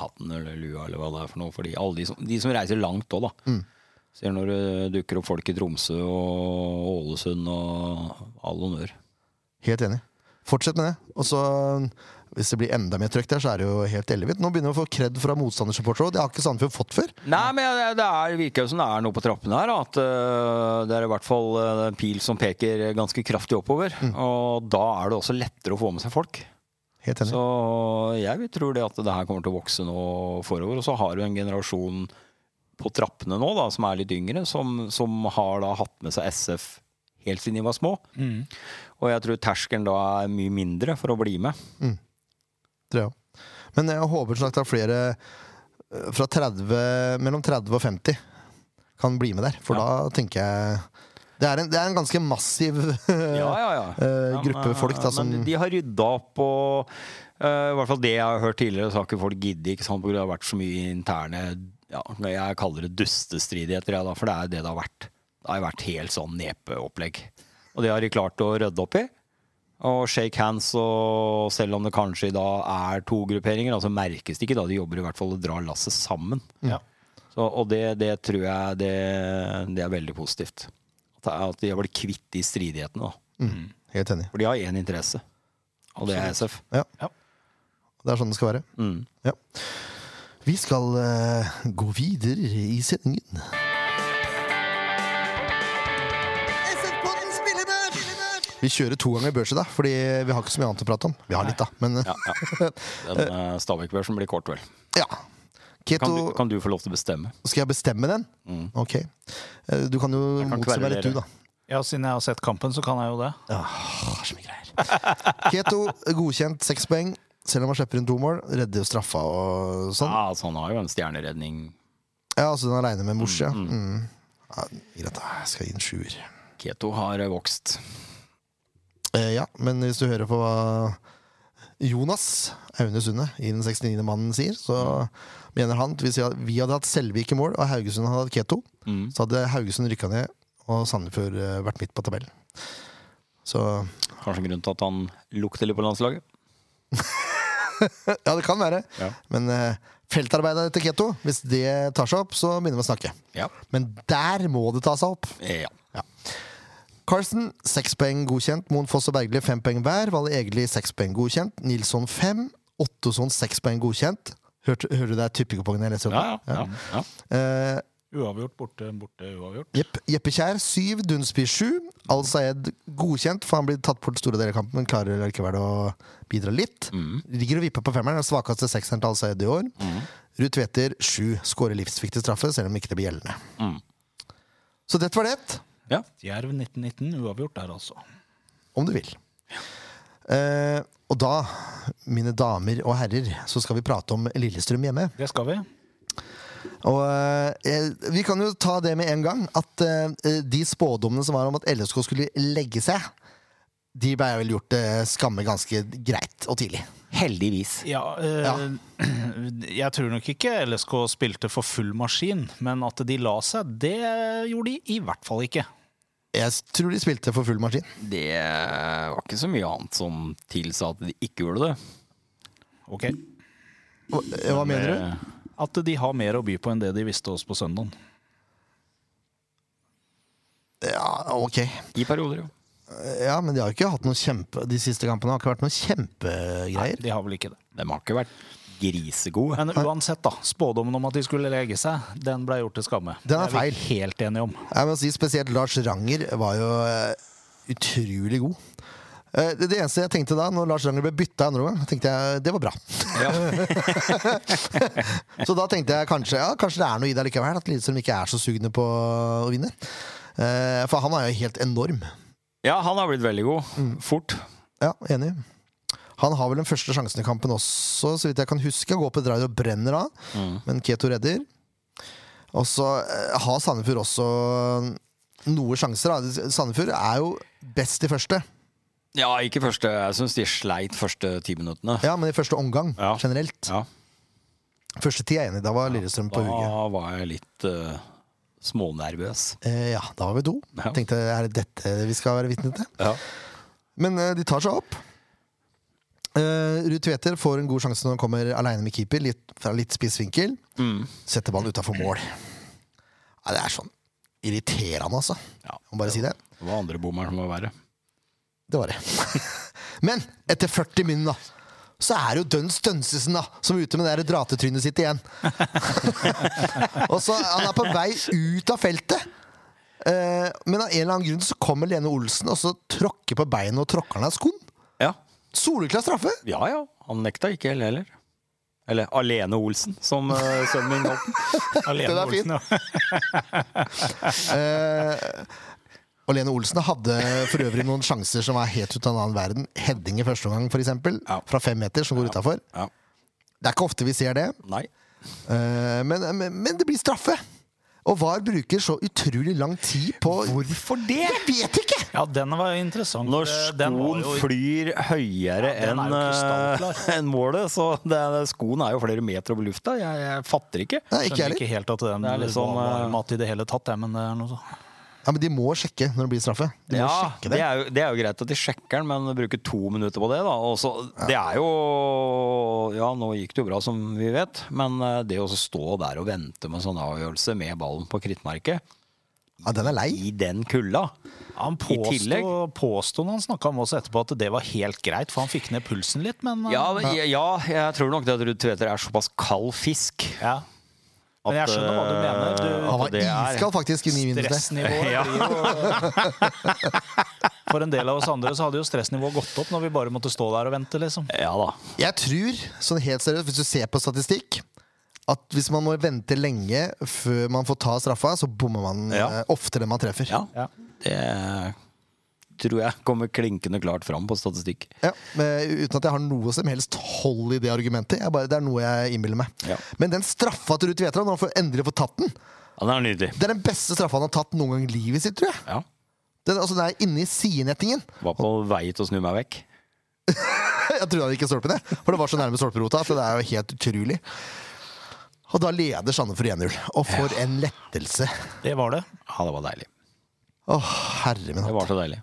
S1: hatten eller lua eller hva det er for noe. Fordi alle de som, de som reiser langt òg, da. Ser når det dukker opp folk i Tromsø og Ålesund og all honnør.
S2: Helt enig. Fortsett med det. Og så hvis det blir enda mer trøkk der, så er det jo helt ellevilt. Nå begynner vi å få kred fra motstandersupportere, og det har ikke Sandefjord fått før.
S1: Nei, men det- det er, virker jo som det er noe på trappene her. da, At øh, det er i hvert fall øh, en pil som peker ganske kraftig oppover. Og da er det også lettere å få med seg folk.
S2: Helt enig.
S1: Så jeg tror det at det her kommer til å vokse nå forover. Og så har du en generasjon på trappene nå da, som er litt yngre, som, som har da hatt med seg SF helt siden de var små.
S3: Mm.
S1: Og jeg tror terskelen da er mye mindre for å bli med.
S2: Tror jeg. også. Men jeg håper sånn at det er flere eh, fra 30, mellom 30 og 50 kan bli med der. For da tenker jeg det er, en, det er en ganske massiv
S1: Ja, ja, ja.
S2: eh,
S1: Ja,
S2: gruppe
S1: men,
S2: folk
S1: men
S2: da, som
S1: De har rydda opp og eh, I hvert fall det jeg har hørt tidligere, så har ikke folk giddet, ikke sant, på grunn av det har vært så mye interne ja, Jeg kaller det dustestridigheter, jeg, da, for det er det det har vært. Det har jo vært helt sånn nepeopplegg. Og det har de klart å rydde opp i. Og shake hands, og selv om det kanskje i dag er to grupperinger, altså merkes det ikke, da. De jobber i hvert fall og drar lasset sammen.
S3: Ja.
S1: Så, og det, det tror jeg det, det er veldig positivt. At, det er- at de har blitt kvitt de stridighetene. da.
S2: <laughs> mm, Helt enig.
S1: For de har én interesse, og det er SF.
S2: Ja.
S3: Ja.
S2: Det er sånn det skal være.
S1: Mm.
S2: Ja. Vi skal eh, gå videre i sendingen. Vi kjører to ganger børs i dag, fordi vi har ikke så mye annet å prate om. Vi har litt, da, men
S1: Ja, ja. Den eh, Stabæk-børsen blir kort, vel.
S2: ja. Keto,
S1: Kan du, kan du få lov til å bestemme?
S2: skal jeg bestemme den? Ok. Eh, Du kan jo
S1: kan
S2: motse meg
S1: kverulere.
S2: litt, du, da.
S3: Ja, siden jeg har sett kampen, så kan jeg jo det.
S2: Åh, så mye greier. Keto godkjent seks poeng, selv om han slipper inn to mål. Redder jo straffa og sånn.
S1: Ja, altså, han har jo en stjerneredning.
S2: Ja, altså den aleine med mors, ja. Mm. ja. Greit, da. Jeg skal gi en sjuer.
S1: Keto har eh, vokst.
S2: Eh, ja, men hvis du hører på hva Jonas Aune Sunde, i den 69. mannen, sier, så mener han at hvis vi hadde hatt Selvik i mål, og Haugesund hadde hatt Keto,
S1: Mm.
S2: så hadde Haugesund rykka ned, og Sandefjord eh, vært midt på tabellen. Så
S1: Kanskje grunnen til at han lukter litt på landslaget.
S2: Ja, det kan være.
S1: Ja.
S2: Men eh, feltarbeidet til Keto, hvis det tar seg opp, så begynner vi å snakke.
S1: Ja.
S2: Men der må det ta seg opp!
S1: Eh, ja.
S2: Carlsen, seks poeng godkjent. Moen Foss og Bergli, fem poeng hver. Valle Egeli, seks poeng godkjent. Nilsson, fem. Ottosson, seks poeng godkjent. Hørte, hører du det er typikopongene jeg leser opp?
S1: Ja, ja, ja, ja.
S2: Eh,
S3: Uavgjort, borte, borte, uavgjort.
S2: Jepp. Jeppe Kjær, syv. Dunsby, sju. Al Sayed, godkjent, for han blir tatt bort store deler av kampen, men klarer likevel å bidra litt.
S1: Mm.
S2: Ligger og vipper på femmeren, den svakeste sekseren til Al Sayed i år. Ruud Tveter, sju. Skårer livsviktig straffe, selv om ikke det blir gjeldende.
S1: Mm.
S2: Så dette var det.
S1: ja.
S3: Jerv 1919, uavgjort der, altså.
S2: om du vil. Eh, og da, mine damer og herrer, så skal vi prate om Lillestrøm hjemme.
S3: Det skal vi.
S2: Og eh, vi kan jo ta det med en gang, at eh, de spådommene som var om at LSK skulle legge seg, de ble vel gjort eh, skamme ganske greit og tidlig.
S1: Heldigvis.
S3: Ja, eh, <clears throat> Jeg tror nok ikke LSK spilte for full maskin, men at de la seg, det gjorde de i hvert fall ikke.
S2: Jeg s- tror de spilte for full maskin.
S1: Det eh, var ikke så mye annet som tilsa at de ikke gjorde det.
S3: Ok?
S2: Hva, eh, hva mener du?
S1: Eh,
S3: At de har mer å by på enn det de visste oss på søndagen.
S2: Ja, ok.
S1: I perioder, jo.
S2: Ja, men de har jo ikke hatt noen kjempe... De siste kampene har ikke vært noen kjempegreier.
S3: De har vel ikke det.
S1: De har ikke vært grisegode.
S3: Men uansett, da. Spådommen om at de skulle legge seg, den ble gjort til skamme.
S2: Den er
S3: Det vi Helt enige om.
S2: Jeg må si spesielt Lars Ranger var jo eh, utrolig god. Eh, Det, det eneste jeg tenkte da når Lars Ranger ble bytta andre gang, tenkte jeg det var bra.
S1: <laughs> Ja.
S2: Så da tenkte jeg kanskje ja, kanskje det er noe i det likevel, at Lillestrøm ikke er så sugne på å vinne. Eh, for han er jo helt enorm.
S1: Ja, han har blitt veldig god. Fort.
S2: Ja, enig. Han har vel den første sjansen i kampen også, så vidt jeg kan huske. Går på drive og brenner av, men Keto redder. Og så eh, har Sandefjord også noe sjanser. Da. Sandefjord er jo best i første,
S1: Ja, ikke første Jeg syns de sleit første ti minuttene.
S2: ja, men i første omgang
S1: Ja.
S2: generelt.
S1: Ja,
S2: Første tid er jeg enig, i, da var Lillestrøm på hugget.
S1: Da var jeg litt eh, smånervøs.
S2: Eh, ja, da var vi to.
S1: Ja.
S2: Tenkte er det dette vi skal være vitne til?
S1: Ja.
S2: Men eh, de tar seg opp. Eh, Ruud Tveter får en god sjanse når han kommer aleine med keeper, litt, fra litt spiss vinkel.
S1: Mm.
S2: Setter ballen utafor mål. Ja, det er sånn irriterende, altså.
S1: Ja.
S2: Må bare si det.
S1: Det var andre bommeren som var verre.
S2: Det var det. <laughs> Men etter 40 min, da, så er det jo Dønn Stønsesen da, som er ute med det der dratetrynet sitt igjen. <laughs> og så Han er på vei ut av feltet. Eh, men av en eller annen grunn så kommer Lene Olsen og så tråkker på beinet og tråkker han av skoen.
S1: Ja.
S2: Soleklar straffe!
S1: ja ja, han nekta ikke helt heller. Eller Alene Olsen, som
S3: <laughs>
S1: eh, sønnen min kalte den.
S3: Alene
S2: Den er
S3: Olsen, ja.
S2: Eh, og Lene Olsen hadde for øvrig noen sjanser som var helt ut av en annen verden. Heading i første omgang, f.eks.
S1: Ja.
S2: Fra fem meter, som går utafor.
S1: Ja.
S2: Det er ikke ofte vi ser det,
S1: Nei.
S2: eh, men, men, men det blir straffe. Og VAR bruker så utrolig lang tid på Hvorfor det?! Jeg vet ikke!
S3: ja, den var jo interessant.
S1: Når
S3: Eh, Den var
S1: skoen
S3: jo-
S1: flyr høyere
S3: Ja, den
S1: enn
S3: er jo krystallklar.
S1: eh, <laughs> enn målet, så det, er- skoen er jo flere meter opp i lufta. Jeg, jeg fatter ikke.
S2: Nei, ikke jeg
S3: Skjønner
S2: heller.
S3: ikke helt at den
S1: Det er
S3: var
S1: litt sånn, eh,
S3: varm i det hele tatt, jeg, men det er noe så.
S2: Ja, men de må sjekke når det blir straffe. De må
S1: Ja,
S2: sjekke
S1: det
S2: det.
S1: er, jo, det er jo greit at de sjekker den, men bruker to minutter på det, da. Og så, det er jo Ja, nå gikk det jo bra, som vi vet, men eh, det å så stå der og vente med en sånn avgjørelse med ballen på krittmarket,
S2: Ja, den er lei.
S1: i den kulda
S3: Han
S1: I tillegg-
S3: påsto, påsto når han snakka med oss etterpå, at det var helt greit, for han fikk ned pulsen litt, men eh,
S1: Ja, ja, jeg tror nok det at Ruud Tveter er såpass kald fisk.
S3: ja. Men jeg skjønner hva du
S1: eh,
S3: mener. Du,
S2: Han var
S1: det er-
S2: iskald, faktisk, i ni minutter.
S3: Stressnivået
S1: <laughs>
S3: blir jo For en del av oss andre så hadde jo stressnivået gått opp når vi bare måtte stå der og vente, liksom.
S1: Ja da.
S2: Jeg tror, sånn helt seriøst, hvis du ser på statistikk at hvis man må vente lenge før man får ta straffa, så bommer man
S1: Ja.
S2: eh, oftere enn man treffer.
S1: Ja,
S3: Ja.
S1: det tror jeg kommer klinkende klart fram på statistikk.
S2: Ja, men eh, uten at jeg har noe som helst hold i det argumentet. Jeg bare, det er noe jeg innbiller meg.
S1: Ja.
S2: Men den straffa til Ruud Tvetra, når han får endelig får tatt den,
S1: Ja, Den er nydelig.
S2: det er den beste straffa han har tatt noen gang i livet sitt, tror jeg.
S1: Ja.
S2: Den, altså, den er inne i sidenettingen. <laughs>
S1: Var på vei til å snu meg vekk.
S2: Jeg trodde han gikk i stolpen, jeg. For det var så nærme stolperota at det er jo helt utrolig. Og da leder Sandefjord 1-0. Og for en lettelse.
S3: Det var det.
S1: Ja, det var deilig.
S2: Å, herre min
S1: Det
S2: hatt.
S1: var så deilig.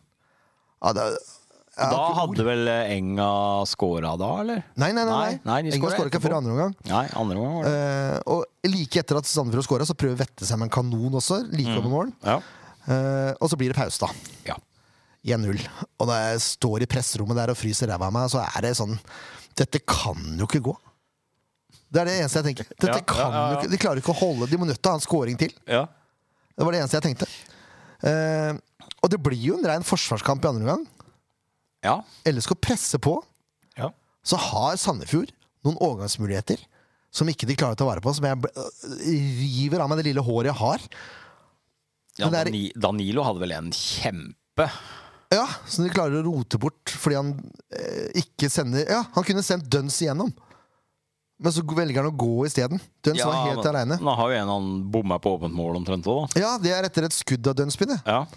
S2: Ja, det er- Ja,
S1: Da
S2: ikke
S1: hadde vel eh, Enga scora da, eller?
S2: Nei, nei, nei. nei.
S1: Nei, de
S2: Ingvar
S1: skåret
S2: skårer ikke før
S1: etterpå.
S2: andre omgang.
S1: Nei, andre gang var det.
S2: Eh, og like etter at Sandefjord skåra, så prøver Vette seg med en kanon også. Like
S1: Mm.
S2: over mål.
S1: Ja.
S2: Eh, og så blir det pause, da.
S1: ja.
S2: 1-0. Og når jeg står i presserommet der og fryser ræva av meg, så er det sånn Dette kan jo ikke gå. Det er det eneste jeg tenker. Dette
S1: Ja,
S2: kan
S1: ja, ja, ja.
S2: jo ikke De klarer ikke å holde De må nødt til å ha en scoring til.
S1: ja.
S2: Det var det eneste jeg tenkte. Eh, og det blir jo en rein forsvarskamp i andre omgang.
S1: Ja.
S2: LSK presser på.
S3: Ja.
S2: så har Sandefjord noen overgangsmuligheter som ikke de klarer å ta vare på. Som jeg ble- øh, river av meg det lille håret jeg har.
S1: ja
S2: Men det er-
S1: Dani- Danilo hadde vel en kjempe
S2: Ja, Som de klarer å rote bort fordi han eh, ikke sender Ja, han kunne sendt Duns igjennom, men så velger han å gå isteden. Duns var helt
S1: men-
S2: aleine.
S1: Nå har jo en han bomma på åpent mål omtrent òg, da.
S2: Ja, det er etter et skudd av Dunsby, det.
S1: Ja.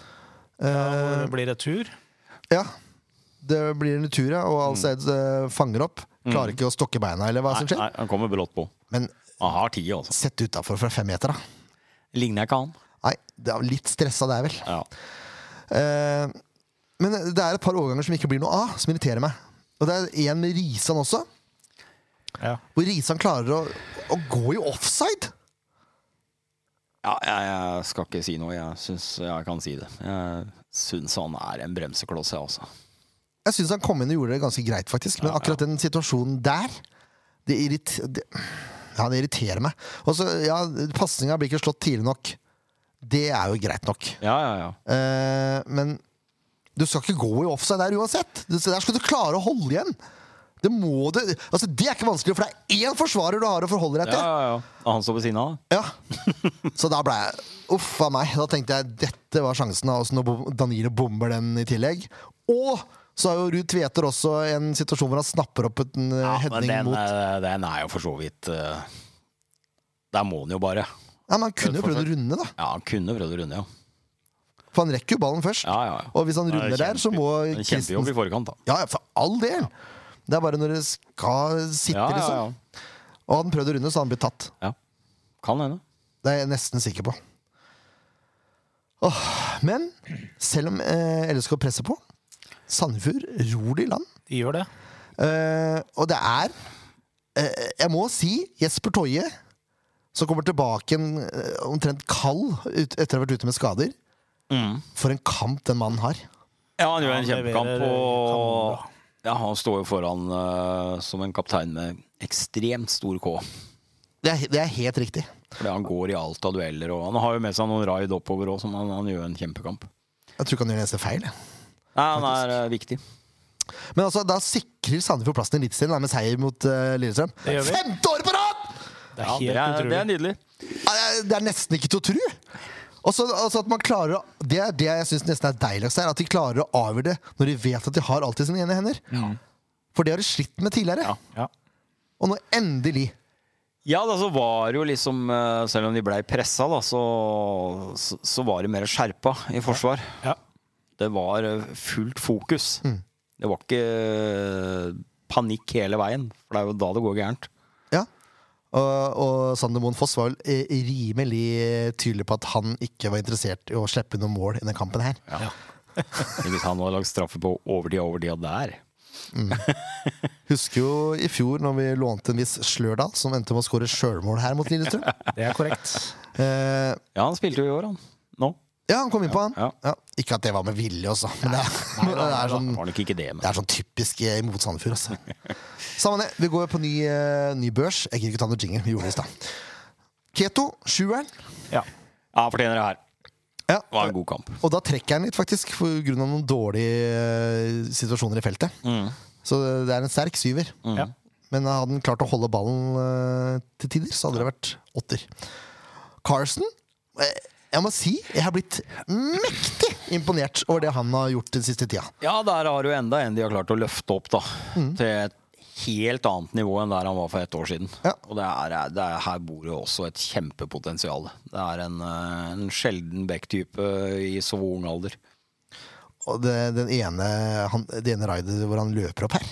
S2: Eh.
S3: Det blir retur.
S2: Ja. Det blir en tur, ja. Og
S1: Mm.
S2: Al-Said eh, fanger opp. Klarer ikke å stokke beina, eller hva
S1: Nei,
S2: som skjer.
S1: nei, han kommer brått på.
S2: Men
S1: Han har tida, altså.
S2: sett utafor fra fem meter, da.
S1: Ligner ikke han.
S2: Nei, det er litt stressa der, vel.
S1: Ja.
S2: Eh, men det er et par overganger som ikke blir noe av, som irriterer meg. Og det er en med Risan også,
S3: Ja.
S2: hvor Risan klarer å, å gå i offside!
S1: Ja, jeg, jeg skal ikke si noe. Jeg syns jeg kan si det. Jeg syns han er en bremsekloss, jeg altså. også.
S2: Jeg syns han kom inn og gjorde det ganske greit, faktisk, men akkurat den situasjonen der Det, irrit, det, ja, det irriterer meg. Og så, ja, pasninga blir ikke slått tidlig nok. Det er jo greit nok.
S1: Ja, ja, ja.
S2: Eh, men du skal ikke gå i offside der uansett! Det- Der skal du klare å holde igjen! Det må du Altså, det er ikke vanskelig, for det er én forsvarer du har å forholde deg
S1: Ja,
S2: til.
S1: ja, ja. Og han står ved siden av, da.
S2: Ja. Så da ble jeg Uff a meg. Da tenkte jeg dette var sjansen, da, også når bom- Danilo bomber den i tillegg. Og så har jo Ruud Tveter også en situasjon hvor han snapper opp en ja,
S1: Men
S2: heading
S1: den,
S2: mot
S1: eh, den er jo for så vidt eh, Der må han jo bare.
S2: Ja, men Han kunne jo prøvd å runde, da.
S1: Ja, han kunne prøvd å runde, ja.
S2: For han rekker jo ballen først.
S1: Ja, ja, ja.
S2: Og hvis han
S1: Det er
S2: runder der, så må
S1: Det er en Kjempejobb
S2: Christensen
S1: i forkant, da.
S2: Ja, ja, for all del! Det er bare når det skal sitte,
S1: Ja, ja,
S3: sånn.
S2: liksom.
S1: ja.
S2: Og hadde han prøvd å runde, så hadde han blitt tatt.
S1: ja. Kan hende.
S2: Det er jeg nesten sikker på. Åh, men selv om eh, LSK presser på, Sandefjord ror det i land.
S3: De gjør det.
S2: Eh, og det er eh, Jeg må si Jesper Toje, som kommer tilbake en, eh, omtrent kald ut, etter å ha vært ute med skader.
S1: Mm.
S2: For en kamp den mannen har.
S1: Ja, han gjør en
S3: Han leverer
S1: kjempekamp. Og
S3: kanonbra.
S1: ja, han står jo foran eh, som en kaptein med ekstremt stor K.
S2: Det er, det er helt riktig.
S1: Fordi han går i alt av dueller, og han har jo med seg noen raid oppover òg, så han, han gjør en kjempekamp.
S2: Jeg tror ikke han gjør en eneste feil. jeg.
S1: Nei, han er eh, viktig.
S2: Men altså, da sikrer Sandefjord plassen i Eliteserien da, med seier mot uh, Lillestrøm.
S3: Det gjør vi.
S2: Femte år på rad!
S3: Det
S1: Ja, det,
S3: er helt
S1: er, det
S3: utrolig.
S1: er nydelig.
S2: Ja, det er- Det er nesten ikke til å tro! Og så altså at man klarer å- Det er det jeg syns nesten er deiligst her, at de klarer å avgjøre det når de vet at de har alt i sine ene hender. For det har de slitt med tidligere.
S1: Ja.
S3: Mm. Ja.
S2: Og nå endelig
S1: Ja, da så var det jo liksom eh, Selv om de blei pressa, da, så, så, så var det mer skjerpa i forsvar.
S3: Ja.
S1: Det var eh, fullt fokus. Det var ikke eh, panikk hele veien, for det er jo da det går gærent.
S2: Ja. Og, og Sander Moen Foss var vel eh, rimelig tydelig på at han ikke var interessert i å slippe noen mål i denne kampen her.
S1: Hvis han hadde lagd straffe på overtid og overtid og der
S2: Husker jo i fjor når vi lånte en viss Slørdal, som endte med å skåre sjølmål her mot
S1: <laughs>
S2: Lillestrøm.
S3: Det er korrekt.
S2: Eh,
S1: Ja, han spilte jo i år, han. Nå.
S2: ja, han kom inn på han.
S1: Ja.
S2: Ja. Ikke at det var med vilje, altså. Men det er, det er sånn
S1: Det var nok ikke det, men
S2: Det er sånn typisk eh, mot Sandefjord. Altså. Samme det. Vi går på ny, eh, ny børs. Jeg gidder ikke ta noe jingle. Vi gjorde det i stad. Keto, sjueren.
S3: Ja.
S1: Ja, han fortjener det her.
S2: Ja.
S1: Det var en god kamp.
S2: Og da trekker jeg den litt, faktisk, på grunn av noen dårlige eh, situasjoner i feltet. Så det er en sterk syver.
S1: Mm.
S3: ja.
S2: Men hadde han klart å holde ballen eh, til tider, så hadde det vært åtter. Carson eh, Jeg må si jeg har blitt mektig imponert over det han har gjort den siste tida.
S1: Ja, der har du enda en de har klart å løfte opp, da. Til et helt annet nivå enn der han var for et år siden.
S2: Ja.
S1: Og det er, det er, her bor jo også et kjempepotensial. Det er en, eh, en sjelden back-type i så ung alder.
S2: Og det, den ene, han, det ene raidet hvor han løper opp her.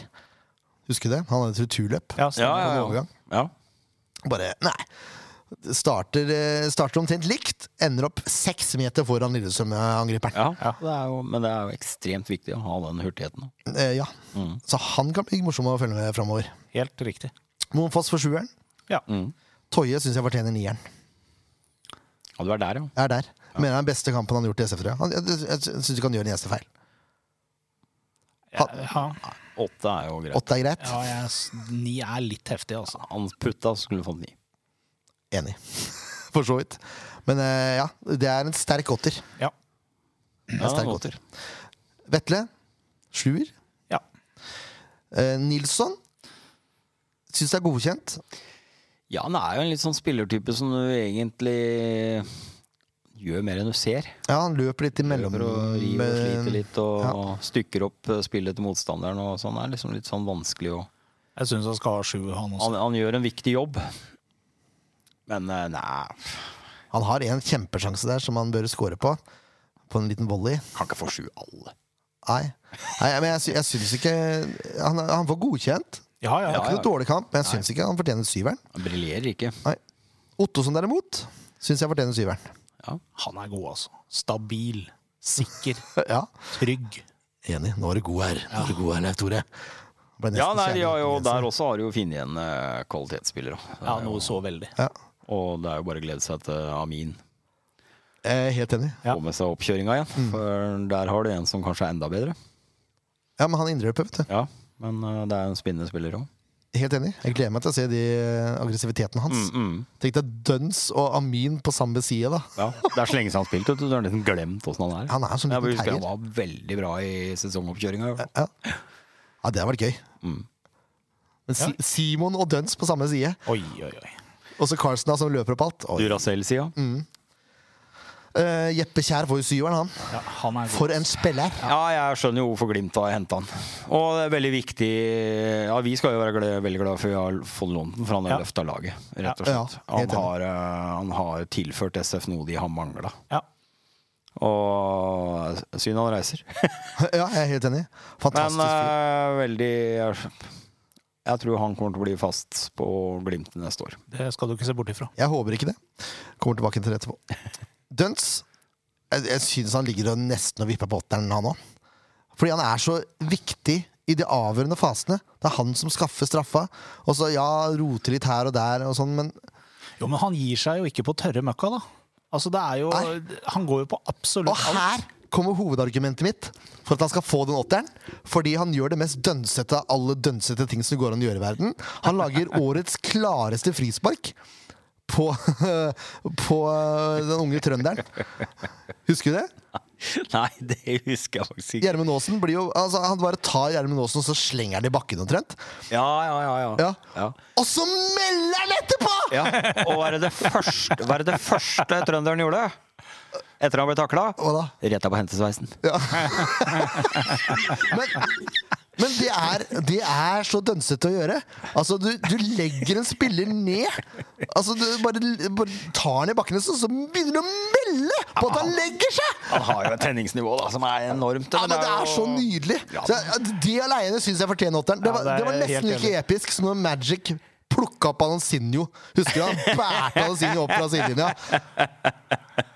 S2: Husker du det? Han hadde et returløp.
S3: Ja, stemmer.
S1: ja.
S2: overgang.
S1: ja.
S2: Bare Nei. Starter, eh, starter omtrent likt, ender opp seks meter foran Lillestrøm-angriperen.
S1: ja. Det er jo, men det er jo ekstremt viktig å ha den hurtigheten. da.
S2: Eh, ja.
S3: Mm.
S2: Så han kan bli morsom å følge med framover.
S3: Helt riktig.
S2: Moen Foss for sjueren.
S3: Ja.
S2: Toje syns jeg fortjener nieren.
S1: Ja, du er der, ja.
S2: Jeg er der. Mener det er den beste kampen han har gjort i SF, tror jeg. Han- Jeg, jeg, jeg syns ikke han gjør en eneste feil.
S3: Ja,
S1: Åtte er jo greit.
S2: Åtte er greit.
S3: ja jeg, s- ni er litt heftig, altså.
S1: Han putta, så skulle du fått ni.
S2: Enig. <laughs> For så vidt. Men eh, ja, det er en sterk åtter.
S3: Ja.
S1: Ja,
S2: sterk
S1: åtter.
S2: åtter. Vetle, sjuer.
S3: ja.
S2: Eh, Nilsson syns det er godkjent.
S1: Ja, han er jo en litt sånn spillertype som du egentlig gjør mer enn du ser.
S2: Ja, han løper litt imellom.
S1: Prøver å rive og slite litt og
S2: Ja.
S1: stykker opp eh, spillet til motstanderen og sånn. Er liksom litt sånn vanskelig å
S3: Jeg syns han skal ha sju, han også.
S1: han, han gjør en viktig jobb, men eh, nei
S2: Han har en kjempesjanse der som han bør score på. På en liten volley.
S1: Kan ikke få sju alle.
S2: Nei, Nei men jeg, sy jeg syns ikke Han, han var godkjent.
S3: Ja, ja.
S2: Ikke
S1: ja.
S2: noe dårlig kamp, men jeg syns ikke han fortjener syveren.
S1: Han briljerer ikke.
S2: Nei. Ottosson derimot syns jeg fortjener syveren.
S1: Ja.
S3: Han er god, altså. Stabil, sikker,
S2: Ja,
S3: trygg.
S2: Enig. Nå er du god her, Nå er du god her, Leif Tore. Ble nesten
S1: Ja, nei, de har jo,
S2: kjernegjenser.
S1: der også har de jo funnet igjen eh, kvalitetsspillere. Det er
S3: Ja,
S1: jo-
S3: noe så veldig.
S2: ja.
S1: Og det er jo bare å glede seg til Amin
S2: jeg er Helt enig.
S3: Ja.
S1: får med seg oppkjøringa igjen. For der har du en som kanskje er enda bedre.
S2: Ja, Men han indreløper, vet du.
S1: Ja, Men eh, det er en spinnende spiller òg.
S2: Helt enig. Jeg gleder meg til å se de eh, aggressiviteten hans.
S1: Mm,
S2: Tenk deg Duns og Amin på samme side, da.
S1: Ja, Det er så lenge siden han spilte, vet du. Du har nesten glemt åssen han er.
S2: Han er som en sånn
S1: Jeg
S2: liten
S1: husker han
S2: terrier.
S1: var veldig bra i sesongoppkjøringa. Mm.
S2: Ja, det hadde vært gøy. Men Si- Simon og Duns på samme side.
S3: Oi, oi, oi.
S2: Og så Carlsen da, som løper opp alt. Oi.
S1: Duracell-sida.
S2: Mm. Eh, Jeppe Kjær får jo syveren, han.
S3: Ja, han er god.
S2: For en spiller!
S1: Ja, jeg skjønner jo hvorfor Glimt har henta han. Og det er veldig viktig Ja, vi skal jo være glad, veldig glad for vi har fått lånt den, for han har
S3: Ja.
S1: løfta laget, rett og
S2: Ja,
S1: slett.
S2: ja, helt
S1: Han har, eh, han har tilført SF noe de har mangla.
S3: Ja.
S1: Og eh, synd han reiser.
S2: ja, jeg er helt enig. <laughs> Fantastisk
S1: Men eh,
S2: fyr.
S1: veldig jeg, jeg tror han kommer til å bli fast på Glimt neste år.
S3: Det skal du ikke se bort ifra.
S2: Jeg håper ikke det. Kommer tilbake til det etterpå. Duns Jeg, jeg syns han ligger og nesten og vipper på åtteren, han òg. Fordi han er så viktig i de avgjørende fasene. Det er han som skaffer straffa. Og så, ja, roter litt her og der og sånn, men
S3: Jo, men han gir seg jo ikke på tørre møkka, da. Altså, det er jo
S2: Nei.
S3: Han går jo på
S2: Og
S3: absolutt
S2: her kommer hovedargumentet mitt for at han skal få den åtteren. Fordi han gjør det mest dønsete av alle dønsete ting som går an å gjøre i verden. Han lager årets klareste frispark på, <laughs> på eh, den unge trønderen. Husker du det?
S1: <laughs> Nei, det husker jeg faktisk ikke.
S2: Gjermund Aasen blir jo altså, Han bare tar Gjermund Aasen og så slenger han i bakken omtrent.
S1: Ja, ja, ja. ja.
S2: Ja.
S1: Ja.
S2: Og så melder han etterpå!
S1: Ja, Og hva er det første, hva er det første trønderen gjorde etter han ble takla?
S2: Hva da?
S1: Retta på hentesveisen.
S2: Men, men det, er, det er så dønsete å gjøre. Altså, du, du legger en spiller ned. Altså, du bare, bare tar han i bakken, og så- så begynner du å melde på at han legger seg!
S1: Han har jo et tenningsnivå da, som er enormt.
S2: Ja, men Det er så
S1: jo-
S2: nydelig!
S1: Ja.
S2: Så jeg- Det aleine syns jeg fortjener åtteren. Det,
S3: Ja,
S2: var-
S3: det er
S2: det var nesten
S3: helt
S2: like
S3: enig.
S2: episk som når Magic plukka opp Anonsinho. Husker du han bærte Anonsinho opp fra sidelinja?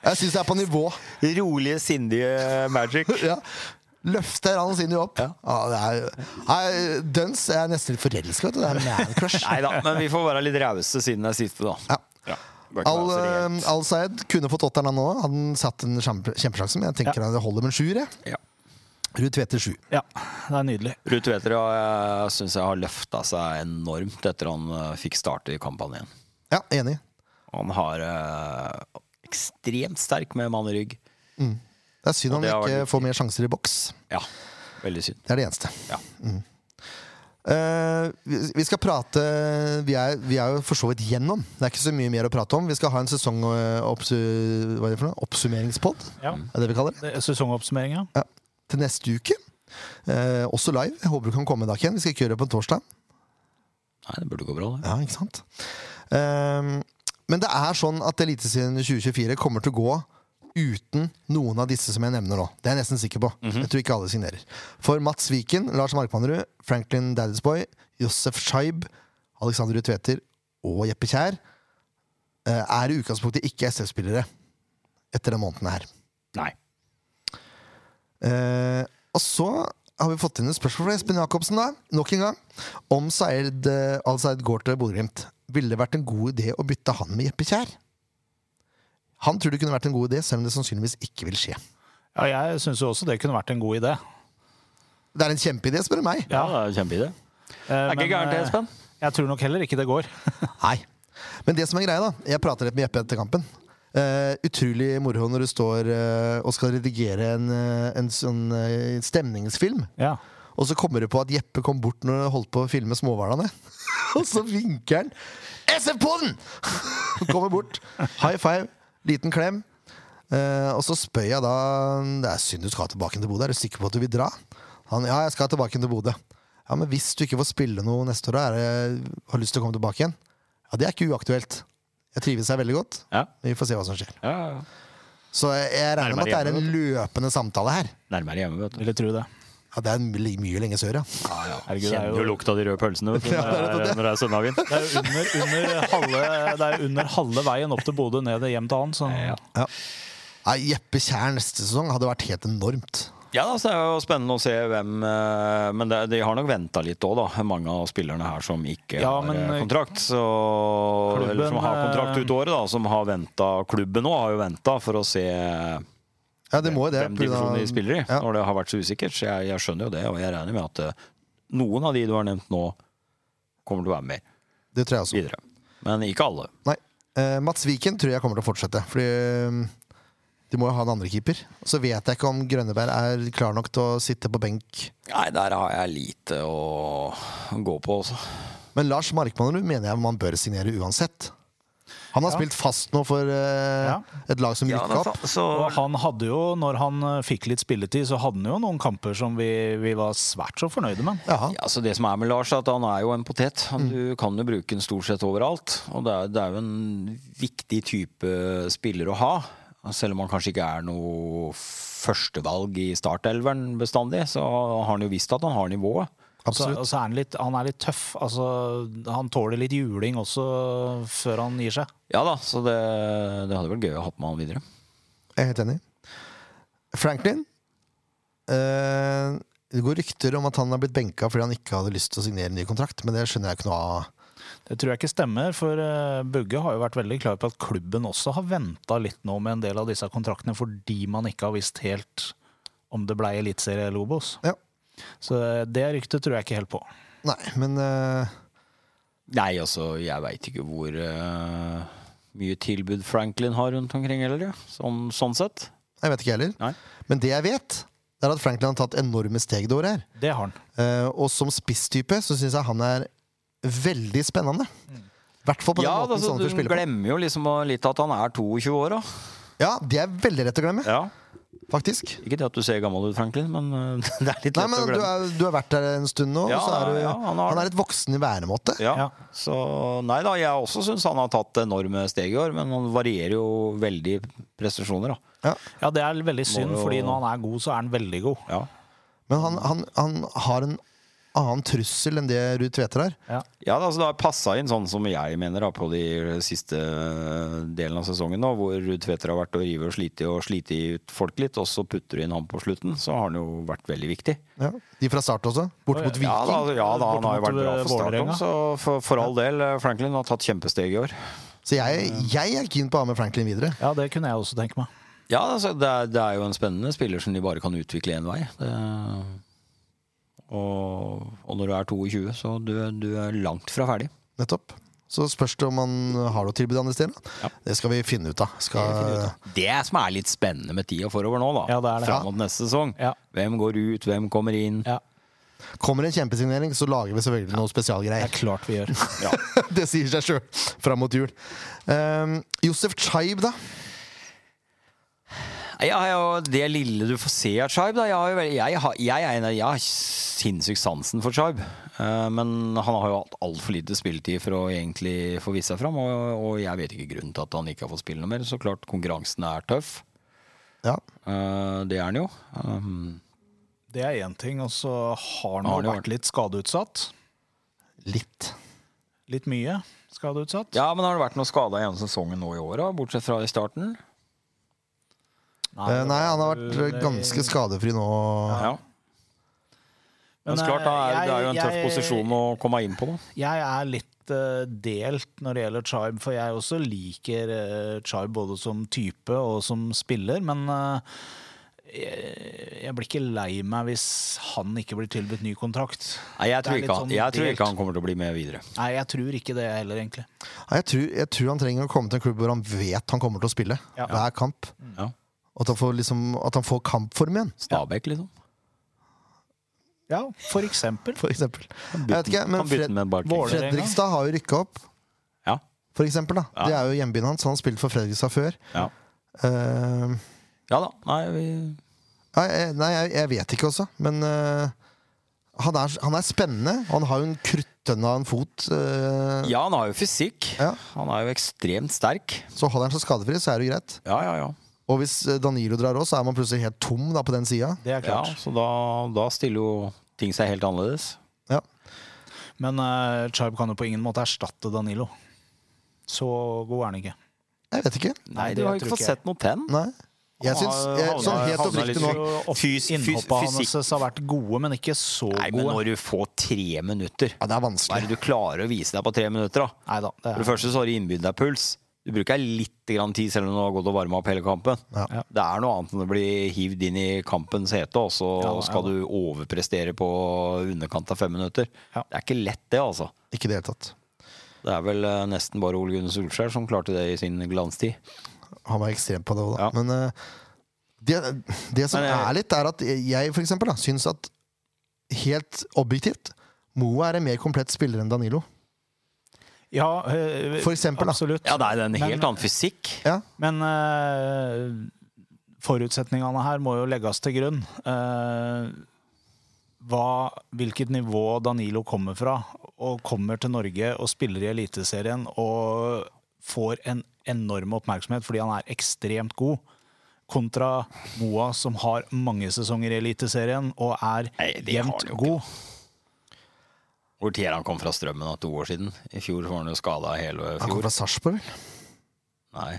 S2: Jeg syns det er på nivå.
S1: Rolige, sindige Magic.
S2: <laughs> Ja. Løfter Anonsinho opp. Ja.
S1: Ja.
S2: det er, nei, Duns jeg er nesten litt forelska. Det er man crush.
S1: Nei da, men vi får være litt rause siden det er siste, da.
S2: Ja.
S1: Ja. Bør ikke
S2: Al,
S1: være så reelt.
S2: eh, Al Sayed kunne fått åtteren han òg. Han satt en kjempe- kjempesjanse, men jeg tenker det holder med en sjuer. jeg.
S1: ja.
S2: Ruud Tvedte sju.
S3: Ja, det er nydelig.
S1: Ruud Tveter ja, jeg syns jeg har løfta seg enormt etter han eh, fikk starte i kampen igjen.
S2: Ja, enig.
S1: Han har eh, ekstremt sterk med mann i rygg.
S2: Det er synd
S1: Og
S2: han
S1: det har
S2: ikke
S1: vært-
S2: får mer sjanser i boks.
S1: Ja, veldig synd.
S2: Det er det eneste.
S1: Ja.
S2: Eh, vi vi skal prate vi er, vi er jo for så vidt gjennom. Det er ikke så mye mer å prate om. Vi skal ha en sesong eh, oppsu, hva er det for noe? oppsummeringspod.
S3: Ja.
S2: Er det det vi kaller det?
S3: Det er Sesongoppsummeringa.
S2: Ja. Til neste uke. Eh, også live. Jeg håper du kan komme i dag igjen. Vi skal ikke gjøre det på en torsdag.
S1: Nei, det burde gå bra, det.
S2: Ja, ikke sant? Ehm, men det er sånn at Eliteserien 2024 kommer til å gå uten noen av disse som jeg nevner nå. Det er jeg nesten sikker på. Jeg tror ikke alle signerer. For Mats Viken, Lars Markmannerud, Franklin Daddisboy, Josef Scheib, Alexander Ruud Tveter og Jeppe Kjær eh, er i utgangspunktet ikke SF-spillere etter denne måneden her.
S1: Nei.
S2: Eh, og så har vi fått inn et spørsmål fra Espen Jacobsen, da, nok en gang, om Saeed eh, Al-Saeed går til Bodø-Glimt. Ville det vært en god idé å bytte han med Jeppe Kjær? Han tror det kunne vært en god idé, selv om det sannsynligvis ikke vil skje.
S3: Ja, jeg syns jo også det kunne vært en god idé.
S2: Det er en kjempeidé, spør du meg.
S1: Ja, det er en kjempeidé.
S3: Eh,
S1: Det er
S3: men,
S1: ikke gærent, det,
S3: eh,
S1: Espen.
S3: Jeg tror nok heller ikke det går.
S2: Nei. Men det som er greia, da Jeg prater litt med Jeppe etter kampen. Eh, utrolig moro når du står eh, og skal redigere en, eh, en sånn eh, stemningsfilm.
S3: Ja.
S2: Og så kommer du på at Jeppe kom bort når du holdt på å filme småhvalene. <laughs> og så vinker han. SF-poden! <laughs> kommer bort. High five. Liten klem. Eh, og så spør jeg da Det er synd du skal tilbake til Bodø. Er du sikker på at du vil dra? Han ja, jeg skal tilbake til Bodø. Ja, men hvis du ikke får spille noe neste år, da er det, har lyst til å komme tilbake igjen? Ja, det er ikke uaktuelt. Jeg trives her veldig godt.
S1: Ja.
S2: Men vi får se hva som skjer.
S1: Ja, ja.
S2: Så jeg, jeg regner med at det er en løpende samtale her.
S1: Nærmere hjemme, vet du.
S3: Ville tro det.
S2: Ja, det er mye mye lenger sør, ja.
S3: Herregud, det er jo,
S1: lukta av de røde pølsene <laughs> vet du,
S2: Ja, det er
S1: når det er- når det er søndagen.
S3: det er jo under, under, halve, det er jo under halve veien opp til Bodø, ned det hjem til han. Så.
S1: Ja.
S2: Nei, Jeppe Kjær neste sesong hadde vært helt enormt.
S1: Ja, altså, Det er jo spennende å se hvem eh, Men det, de har nok venta litt òg, da. Mange av spillerne her som ikke
S3: Ja,
S1: har
S3: men,
S1: eh,
S3: eh,
S1: kontrakt. Så, eller som har kontrakt ut året, da. Som har venta Klubben òg har jo venta for å se
S2: Ja, det må jo det.
S1: hvem
S2: på grunn av-
S1: divisjonen de spiller i.
S2: Ja.
S1: Når det har vært så usikkert. Så jeg, jeg skjønner jo det, og jeg regner med at eh, noen av de du har nevnt nå, kommer til å være med
S2: Det tror jeg også.
S1: videre. Men ikke alle.
S2: Nei. Eh, Mats Viken tror jeg kommer til å fortsette. Fordi eh, de må jo ha en andre keeper. Så vet jeg ikke om Grønneberg er klar nok til å sitte på benk.
S1: Nei, der har jeg lite å gå på, altså.
S2: Men Lars Markmannerud mener jeg man bør signere uansett. Han har
S3: Ja.
S2: spilt fast nå for eh,
S3: Ja.
S2: et lag som
S1: Ja,
S2: rykka
S1: da,
S2: opp.
S1: fa- så
S3: Og han hadde jo, når han eh, fikk litt spilletid, så hadde han jo noen kamper som vi, vi var svært så fornøyde med.
S2: Ja.
S1: Ja, så Det som er med Lars, er at han er jo en potet. Han, Du kan jo bruke den stort sett overalt. Og det er, det er jo en viktig type spiller å ha. Selv om han kanskje ikke er noe førstevalg i startelveren bestandig, så har han jo visst at han har nivået.
S3: Og så-
S2: Absolutt.
S3: Og så er han litt, han er litt tøff. Altså, han tåler litt juling også før han gir seg.
S1: Ja da, så det, det hadde vært gøy å ha med han videre.
S2: Jeg er helt enig. Franklin eh, Det går rykter om at han har blitt benka fordi han ikke hadde lyst til å signere en ny kontrakt, men det skjønner jeg ikke noe av.
S3: Det tror jeg ikke stemmer, for eh, Bugge har jo vært veldig klar på at klubben også har venta litt nå med en del av disse kontraktene, fordi man ikke har visst helt om det blei Eliteserie eller Obos.
S2: Ja.
S3: Så eh, det ryktet tror jeg ikke helt på.
S2: Nei, men eh,
S1: Nei, altså, jeg veit ikke hvor eh, mye tilbud Franklin har rundt omkring heller, ja. sånn, sånn sett.
S2: jeg vet ikke heller.
S1: Nei.
S2: Men det jeg vet, det er at Franklin har tatt enorme steg det året her.
S3: Det har han.
S2: Eh, og som spisstype så syns jeg han er veldig spennende. I hvert fall på den
S1: Ja,
S2: måten
S1: altså,
S2: Sandefjord
S1: du
S2: spiller på.
S1: glemmer jo liksom litt at han er 22 år, da.
S2: Ja, det er veldig lett å glemme,
S1: Ja.
S2: faktisk.
S1: Ikke det at du ser gammel ut, Franklin, men øh, <laughs> det er litt lett
S2: Nei, men
S1: å
S2: du,
S1: glemme.
S2: er, du har vært der en stund nå,
S1: Ja,
S2: og så er du,
S1: ja, han
S2: han,
S1: har
S2: er
S1: det.
S2: litt voksen i væremåte.
S1: Ja.
S3: Ja.
S1: Så nei da, jeg også syns han har tatt enorme steg i år, men han varierer jo veldig prestasjoner, da.
S2: Ja.
S3: Ja, det er veldig synd,
S1: jo-
S3: fordi når han er god, så er han veldig god.
S1: Ja.
S2: Men han, han, han har en annen trussel enn det Ruud Tveter har.
S3: Ja.
S1: Ja, da, altså, det har passa inn sånn som jeg mener da, på de siste eh, delen av sesongen nå, hvor Ruud Tveter har vært og rive og slite og slite ut folk litt, og så putter du inn han på slutten, så har han jo vært veldig viktig.
S2: Ja. De fra start også, borte mot
S1: Ja da,
S2: Viking.
S1: ja, da han har jo vært bra
S3: Bortimot, øh,
S1: for start
S3: Vålerenga.
S1: også, så for, for all del, øh, Franklin har tatt kjempesteg i år.
S2: Så jeg, jeg er keen på å ha med Franklin videre.
S3: ja, det kunne jeg også tenke meg.
S1: Ja, altså, det, er, det er jo en spennende spiller som de bare kan utvikle én vei. Det, og, og når du er 22, så du, du er langt fra ferdig.
S2: Nettopp. Så spørs det om han har noe tilbud andre steder. da.
S1: Ja.
S2: Det skal vi finne ut av. Skal,
S1: Det som er litt spennende med tida forover nå, da,
S3: Ja, det er det.
S1: fram mot neste sesong.
S3: Ja.
S1: Hvem går ut, hvem kommer inn?
S3: Ja,
S2: kommer en kjempesignering, så lager vi selvfølgelig noe
S3: det
S2: spesialgreier.
S3: er klart vi gjør.
S2: <laughs> det sier seg sjøl, fram mot jul. Um, Josef Chaib, da.
S1: Jeg har jo det lille du får se av Chaib. Da. Jeg, har jo, vel- jeg, har, jeg, er en av- jeg har sinnssykt sansen for Chaib. Eh, men han har jo hatt altfor lite spilletid for å egentlig få vist seg fram. Og, og jeg vet ikke grunnen til at han ikke har fått spille noe mer. Så klart konkurransen er tøff.
S2: Ja.
S1: Eh, det er han jo. Um,
S3: <laughs> Det er én ting, og så har han
S1: Har
S3: jo
S1: det vært.
S3: vært litt skadeutsatt.
S2: Litt.
S3: Litt mye skadeutsatt.
S1: ja, men har det vært noe skada gjennom sesongen nå i år, da? Bortsett fra i starten?
S2: Eh, nei, han har
S3: det-
S2: vært ganske skadefri nå.
S1: Ja. Men,
S3: Men,
S1: så klart, da er,
S3: eh,
S1: det er jo en tøff
S3: jeg-
S1: posisjon å komme inn på, da.
S3: Jeg er litt eh, delt når det gjelder Chibe, for jeg også liker uh, Chibe både som type og som spiller, men eh, jeg, jeg blir ikke lei meg hvis han ikke blir tilbudt ny kontrakt.
S1: Nei, jeg
S3: Det er
S1: tror,
S3: litt
S1: ikke han,
S3: sånn
S1: jeg tror
S3: delt.
S1: ikke han kommer til å bli med videre.
S3: Nei, jeg tror ikke det heller, egentlig.
S2: Nei, Jeg, tror, jeg tror han trenger å komme til en klubb hvor han vet han kommer til å spille
S3: Ja.
S2: hver kamp.
S1: Ja.
S2: At han får, liksom, at han får kampform igjen,
S1: Stabæk, liksom.
S3: Ja, for eksempel.
S2: for eksempel. Jeg vet ikke, men
S1: Kan bytte
S2: Fred,
S1: med en
S3: Våler-
S1: barkling.
S3: Vålerenga.
S2: Fredrikstad har jo rykka opp,
S1: Ja.
S2: for eksempel. Da.
S1: Ja.
S2: Det er jo hjembyen hans. Han har spilt for Fredrikstad før.
S1: Ja.
S2: Eh,
S1: ja da. Nei, vi
S2: nei, jeg- nei, jeg, jeg vet ikke også, men eh, han, er, han er spennende. og Han har jo en kruttønne av en fot. eh,
S1: Ja, han har jo fysikk.
S2: Ja.
S1: Han er jo ekstremt sterk.
S2: Så holder han seg skadefri, så er det greit.
S1: Ja, ja, ja.
S2: Og hvis eh, Danilo drar òg, så er man plutselig helt tom da, på den sida.
S3: Det er
S1: ja
S3: klart.
S1: så da, da stiller jo ting seg helt annerledes.
S2: Ja.
S3: Men uh, Chibe kan jo på ingen måte erstatte Danilo. Så god er han ikke.
S2: Jeg vet ikke.
S1: Nei,
S3: det
S1: du har jo ikke
S3: tror
S1: fått
S3: ikke jeg.
S1: sett noe tenn.
S2: Nei. Jeg
S1: Han
S2: syns,
S1: har-
S2: jeg,
S1: han
S2: sånn
S1: har-
S2: helt
S1: han er
S2: oppriktig
S1: litt
S2: nå
S1: syk.
S3: Og
S1: Fys- fys-
S3: Innhoppa hans
S1: fysikk.
S3: har vært gode, men ikke så
S1: Nei, men
S3: gode.
S1: når du får tre minutter
S2: Ja, det er
S1: Hva er
S2: vanskelig.
S1: det du klarer å vise deg på tre minutter, da?
S3: Nei da. Det
S1: For det
S3: er,
S1: første så har du innbydd deg puls. Du bruker litt grann tid selv om du har gått og varma opp hele kampen.
S2: Ja.
S3: Ja.
S1: Det er noe annet enn å bli hivd inn i kampens hete, og så
S3: Ja, ja.
S1: skal du overprestere på underkant av fem minutter.
S3: Ja.
S1: Det er ikke lett, det, altså.
S2: Ikke i det hele tatt.
S1: Det er vel eh, nesten bare Ole Gunnar Solskjær som klarte det i sin glanstid.
S2: Han var ekstrem på det òg, da.
S1: Ja.
S2: Men eh, det, det som
S1: Men eh, jeg-
S2: er litt, er at jeg for eksempel da, syns at helt objektivt Moa er en mer komplett spiller enn Danilo.
S3: Ja, eh,
S2: For eksempel, da.
S3: absolutt.
S1: Ja, det er en helt
S3: Men-
S1: annen fysikk.
S2: Ja.
S3: Men eh, forutsetningene her må jo legges til grunn. Eh, hva, hvilket nivå Danilo kommer fra, og kommer til Norge og spiller i Eliteserien og får en enorm oppmerksomhet fordi han er ekstremt god. Kontra Moa, som har mange sesonger i Eliteserien og er
S1: Nei, det har
S3: jevnt
S1: han jo ikke.
S3: god.
S1: Hvor tid er han kom fra strømmen da, to år siden? I fjor var han jo skada hele
S2: Han kom
S1: fjor.
S2: fra Sarpsborg, vel?
S1: Nei,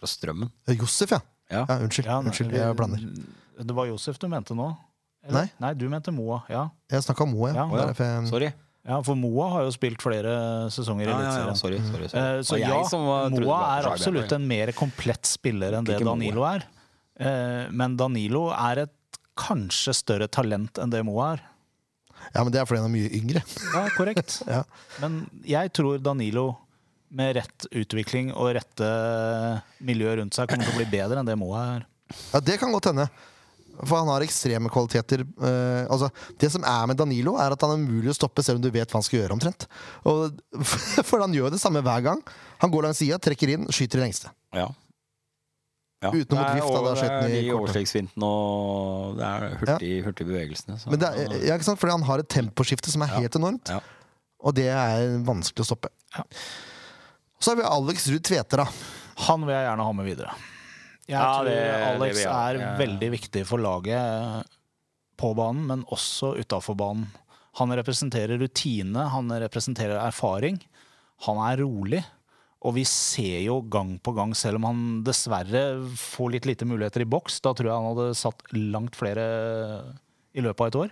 S1: fra strømmen.
S2: Eh, Josef, ja.
S1: Ja.
S2: ja unnskyld,
S3: Ja,
S2: unnskyld, jeg blander.
S3: Det var Josef du mente nå?
S2: Nei.
S3: Nei, du mente Moa. Ja.
S2: Jeg snakka om Moe. Ja.
S3: Ja.
S1: Å, ja.
S2: Derfor jeg-
S1: Sorry.
S3: ja, for Moa har jo spilt flere sesonger
S1: Ja,
S3: i
S1: ja,
S3: Eliteserien.
S1: ja, sorry, sorry,
S3: Eh,
S1: sorry.
S3: Så
S1: Og jeg
S3: ja,
S1: som var- trodde det
S3: Moa
S1: var
S3: er
S1: fra Skeiberg.
S3: absolutt en mer komplett spiller enn det
S1: Ikke Moa.
S3: Danilo er. Eh, Men Danilo er et kanskje større talent enn det Moa er.
S2: Ja, men det er fordi han er mye yngre.
S3: <laughs> Ja, korrekt.
S2: Ja.
S3: Men jeg tror Danilo med rett utvikling og rette miljø rundt seg kommer til å bli bedre enn det Moa er.
S2: Ja, Det kan godt hende. For han har ekstreme kvaliteter. eh, altså, det som er med Danilo, er at han er umulig å stoppe selv om du vet hva han skal gjøre. omtrent og, <laughs> For han gjør det samme hver gang. Han går langs sida, trekker inn, skyter i lengste.
S1: Ja. Ja.
S2: Utenom mot
S1: Det er
S2: Vift, da, da
S1: over-
S2: skjøt den i
S1: Det er de
S2: kortet.
S1: overstegsfintene og det er hurtig, hurtige bevegelsene. Så.
S2: Men det er, ja, ikke sant? Fordi han har et temposkifte som er helt enormt,
S1: Ja.
S2: og det er vanskelig å stoppe. Så har vi Alex Ruud Tveter, da.
S3: Han vil jeg gjerne ha med videre. Jeg
S1: Ja,
S3: tror
S1: det- det
S3: Alex
S1: vil jeg ha.
S3: er
S1: Ja.
S3: veldig viktig for laget på banen, men også utafor banen. Han representerer rutine, han representerer erfaring. Han er rolig. Og vi ser jo gang på gang, selv om han dessverre får litt lite muligheter i boks, da tror jeg han hadde satt langt flere i løpet av et år.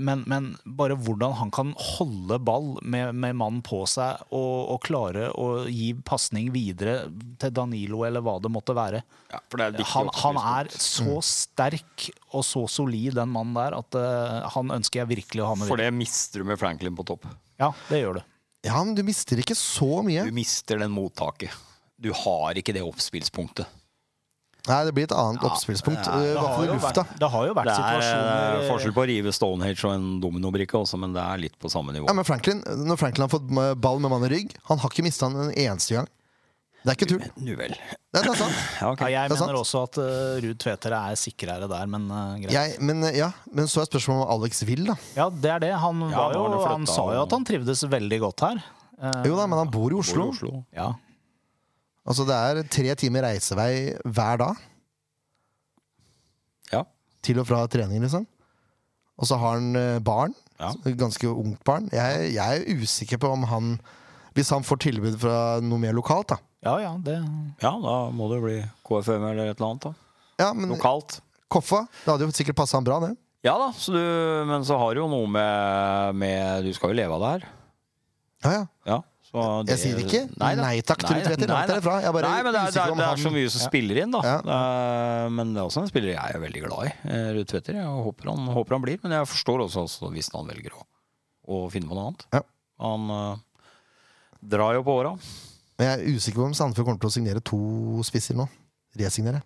S3: Men, men bare hvordan han kan holde ball med, med mannen på seg og, og klare å gi pasning videre til Danilo eller hva det måtte være.
S1: Ja, for det er et viktig
S3: Han, han er
S1: oppspillspunkt.
S3: så
S2: Mm.
S3: sterk og så solid, den mannen der, at eh, han ønsker jeg virkelig å ha med
S1: For
S3: videre.
S1: det mister du med Franklin på topp.
S3: Ja, det gjør du.
S2: Ja, men du mister ikke så mye.
S1: Du mister den mottaket. Du har ikke det oppspillspunktet.
S2: Nei, det blir et annet oppspillspunkt.
S1: det er-
S2: eh, I hvert
S3: Det har
S2: fall i
S3: jo vært,
S2: lufta.
S3: det har jo vært
S1: Det er
S3: situasjoner
S1: eh, forskjell på å rive Stonehenge og en dominobrikke også, men det er litt på samme nivå.
S2: Ja, men Franklin, Når Franklin har fått eh, ball med mann i rygg, han har ikke mista den en eneste gang. Det er ikke tull.
S1: Nu vel.
S2: Det er, det er sant.
S1: Ja, ok.
S3: Ja, jeg
S2: Det er
S3: mener
S2: sant.
S3: også at eh, Ruud Tveter er sikrere der, men eh, greit.
S2: Jeg, men, eh, ja, men så er spørsmålet om Alex vil, da.
S3: Ja, det er det. Han,
S1: Ja,
S3: var
S1: nå har
S3: jo,
S1: han jo
S3: han
S1: flyttet,
S3: sa jo
S1: og-
S3: at han trivdes veldig godt her. Eh,
S2: Jo da, men han bor i Oslo.
S1: Bor i Oslo.
S3: ja.
S2: Altså Det er tre timer reisevei hver dag
S1: Ja.
S2: til og fra trening, liksom. Og så har han eh, barn.
S1: Ja.
S2: Ganske ungt barn. Jeg, jeg er usikker på om han Hvis han får tilbud fra noe mer lokalt, da.
S3: ja, ja, det
S1: ja, da må det bli KFM eller et eller annet. da.
S2: Ja, men
S1: Lokalt.
S2: Koffa Det hadde jo sikkert passa han bra, det.
S1: Ja da, så du, men så har du jo noe med, med Du skal jo leve av det her.
S2: Ja, ja.
S1: Ja, så
S2: Jeg sier ikke
S1: da.
S2: nei takk til
S1: Nei da,
S2: Tveter,
S1: nei
S2: langt
S1: da.
S2: derifra. Jeg er bare
S1: Nei, men det er, det,
S2: usikker
S1: er,
S2: om
S1: det
S2: han-
S1: er så mye som spiller inn, da.
S2: Ja.
S1: Det er, men det er også en spiller jeg er veldig glad i. eh, Ruud Tveter. Jeg håper han, håper han blir, men jeg forstår også altså, hvis han velger å, å finne på noe annet.
S2: Ja.
S1: Han eh, drar jo på åra.
S2: Men jeg er usikker på om Sandefjord kommer til å signere to spisser nå. Resignere.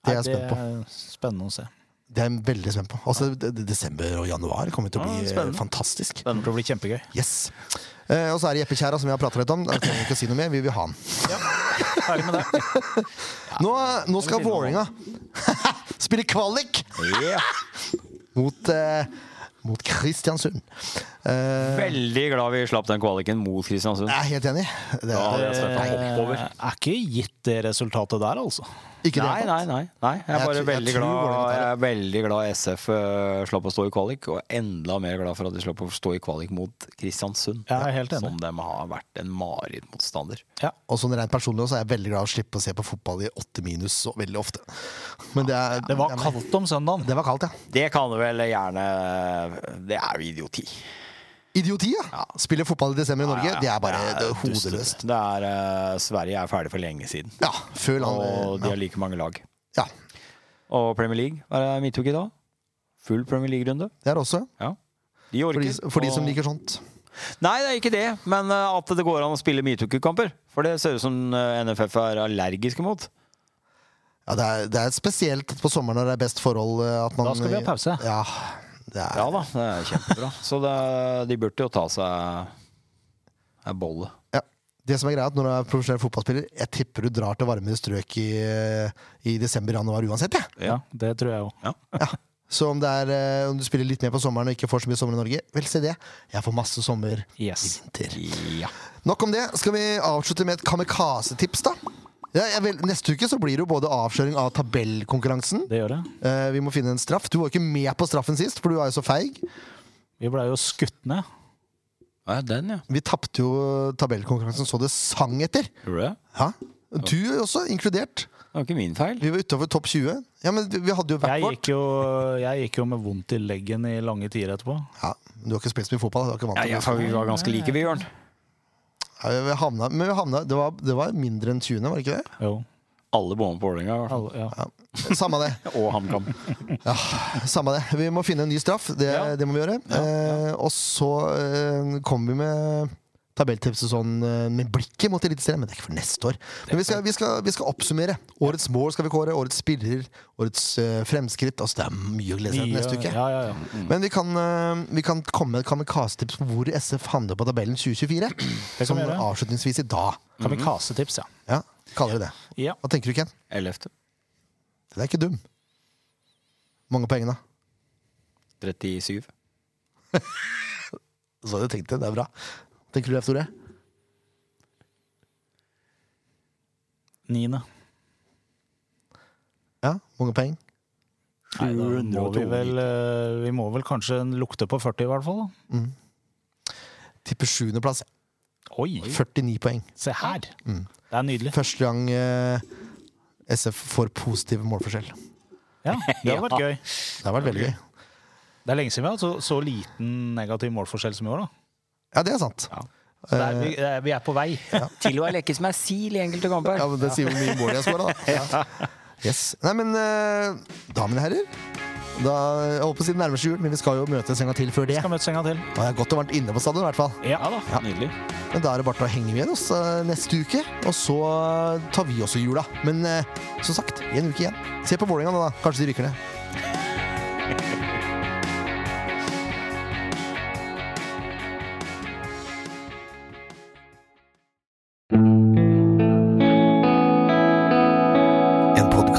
S2: Det er jeg spent på.
S3: er spennende å se.
S2: Det er jeg veldig spent på. Altså, de- de- desember og januar kommer til å
S1: Ja,
S2: bli eh,
S1: spennende.
S2: fantastisk.
S3: Det blir kjempegøy.
S2: Yes. Eh, og så er det Jeppe Kjæra, som vi har prata litt om. Da trenger vi ikke å si noe mer. Vi vil ha han.
S3: Ferdig med det.
S2: <laughs> Nå, nå skal
S1: vi finne
S2: Vålinga <laughs> spille kvalik mot, eh, mot Kristiansund. Eh,
S1: Veldig glad vi slapp den kvaliken mot Kristiansund.
S2: jeg er helt enig. Det
S1: Da
S2: er
S1: hadde jeg støtta hopp over.
S3: Eh, Er ikke gitt det resultatet der, altså.
S2: ikke det.
S1: Nei, nei, nei. nei. Jeg
S2: Jeg
S1: er bare
S2: tror- jeg
S1: veldig,
S2: tror
S1: glad,
S2: Vålerenga tar det.
S1: jeg er veldig glad SF eh, slapp å stå i kvalik, og enda mer glad for at de slapp å stå i kvalik mot Kristiansund.
S3: Jeg er helt enig.
S1: Som de har vært en marerittmotstander.
S3: Ja.
S2: Og sånn rent personlig også er jeg veldig glad å slippe å se på fotball i åtte minus så veldig ofte. Men det er
S3: Det var kaldt om søndagen.
S2: Det var kaldt, ja.
S1: Det kan du vel gjerne Det er jo idioti.
S2: Idioti, ja. Spiller fotball i desember i Norge, det er bare
S1: Ja,
S2: det er
S1: dustete.
S2: hodeløst.
S1: Det er, eh, Sverige er ferdig for lenge siden,
S2: Ja, føl
S1: og
S2: han
S1: de har like mange lag.
S2: Ja,
S1: Og Premier League, hva er det midtuke i dag? Full Premier League-runde.
S2: det er det også.
S1: Ja. De
S2: For
S1: orker.
S2: de, for de
S1: og-
S2: som liker sånt.
S1: Nei, det er ikke det, men eh, at det går an å spille metoo-kamper. For det ser ut som eh, NFF er allergiske mot.
S2: Ja, det er, det er spesielt på sommeren når det er best forhold eh, at man
S3: Da skal vi ha pause.
S2: Ja, det er
S1: <laughs> Ja da, det er kjempebra. Så det, de burde jo ta seg er bolle.
S2: Ja. Det som er greia er at Når du er profesjonell fotballspiller, jeg tipper du drar til varmere strøk i, eh, i desember-januar uansett. jeg.
S1: Ja.
S3: Det tror jeg òg.
S1: Ja.
S2: Så om, det er, eh, om du spiller litt mer på sommeren og ikke får så mye sommer i Norge, vel, se det. Jeg får masse sommer.
S3: Yes.
S2: Vinter.
S1: ja.
S2: Nok om det. Skal vi avslutte med et kamikaze-tips, da? Ja, jeg vil, neste uke så blir det jo både avkjøring av tabellkonkurransen.
S3: Det gjør det.
S2: Eh, vi må finne en straff. Du var jo ikke med på straffen sist, for du var jo så feig.
S3: Vi blei jo skutt ned.
S1: Ja, den, ja.
S2: Vi tapte jo tabellkonkurransen så det sang etter.
S1: Gjorde du det?
S2: Ja. Du også, inkludert.
S1: Det var ikke min feil.
S2: Vi var utafor topp 20. Ja, men vi hadde jo hvert
S3: Jeg
S2: vårt.
S3: gikk, jo, jeg gikk jo med vondt i leggen i lange tider etterpå.
S2: Ja, men du har ikke spilt så mye fotball. Du har ikke vant
S1: Ja,
S2: til
S1: ja,
S2: mye
S1: for vi var ganske like, vi, Jørn.
S2: fotball. ja, vi havna, Men vi havna, det, var, det var mindre enn 20., var det ikke det?
S3: Jo.
S1: Alle bomma på Vålerenga. i hvert fall.
S3: Alle, ja.
S2: Samme det.
S1: Og HamKam. <laughs>
S2: Samme det. Vi må finne en ny straff. Det,
S1: Ja.
S2: det må vi gjøre. Eh, og så eh, kommer vi med tabelltipset sånn eh, med blikket mot Eliteserien, men det er ikke for neste år. Men vi skal, vi skal, vi skal oppsummere. Årets mål skal vi kåre, årets spiller, årets eh, fremskritt. Altså, det er mye å glede seg til neste uke.
S3: Ja, ja, ja.
S2: Men vi kan, eh, vi kan komme med kamikaze-tips på hvor SF handler på tabellen 2024.
S3: vi
S2: Som
S3: gjøre.
S2: avslutningsvis i dag.
S3: Kan vi kase tips, ja.
S2: Ja, kaller vi det.
S3: ja.
S2: Hva tenker du, Ken?
S1: 11.
S2: Det er ikke dum. Mange poeng, da.
S1: 37.
S2: Så hadde jeg tenkt det. Det er bra. Tenker du, Leif Tore?
S3: Niende.
S2: Ja, mange poeng.
S3: Nei, da må vi,
S1: 702.
S3: vel, eh, vi må vel kanskje lukte på 40, i hvert fall. da.
S2: Tipper sjuendeplass.
S3: Oi!
S2: 49 poeng.
S3: Se her!
S2: Mm.
S3: Det er nydelig.
S2: Første gang eh, SF får positiv målforskjell.
S3: Ja, Det har vært gøy.
S2: Det har vært veldig gøy.
S3: Det er lenge siden vi har hatt så, så liten negativ målforskjell som i år. da.
S2: Ja, det er sant.
S1: Ja.
S3: Så det er, vi, det er- vi er på vei.
S1: Til og med lekkes med sil i enkelte kamper.
S2: Ja, men Det sier hvor mye mål jeg skåra, da. Ja. Yes. Nei, men eh, da, mine herrer da, Jeg holdt på å si det nærmer seg jul, men vi skal jo møtes en gang til før det.
S3: Skal møtes en gang til.
S2: Og det er godt å ha vært inne på stadion, i hvert fall.
S3: Ja da.
S1: Nydelig.
S2: Men da er det bare til å henge med oss eh, neste uke, og så eh, tar vi også jula. Men eh, som sagt, i en uke igjen. Se på Vålerenga nå, da. Kanskje de rykker ned. En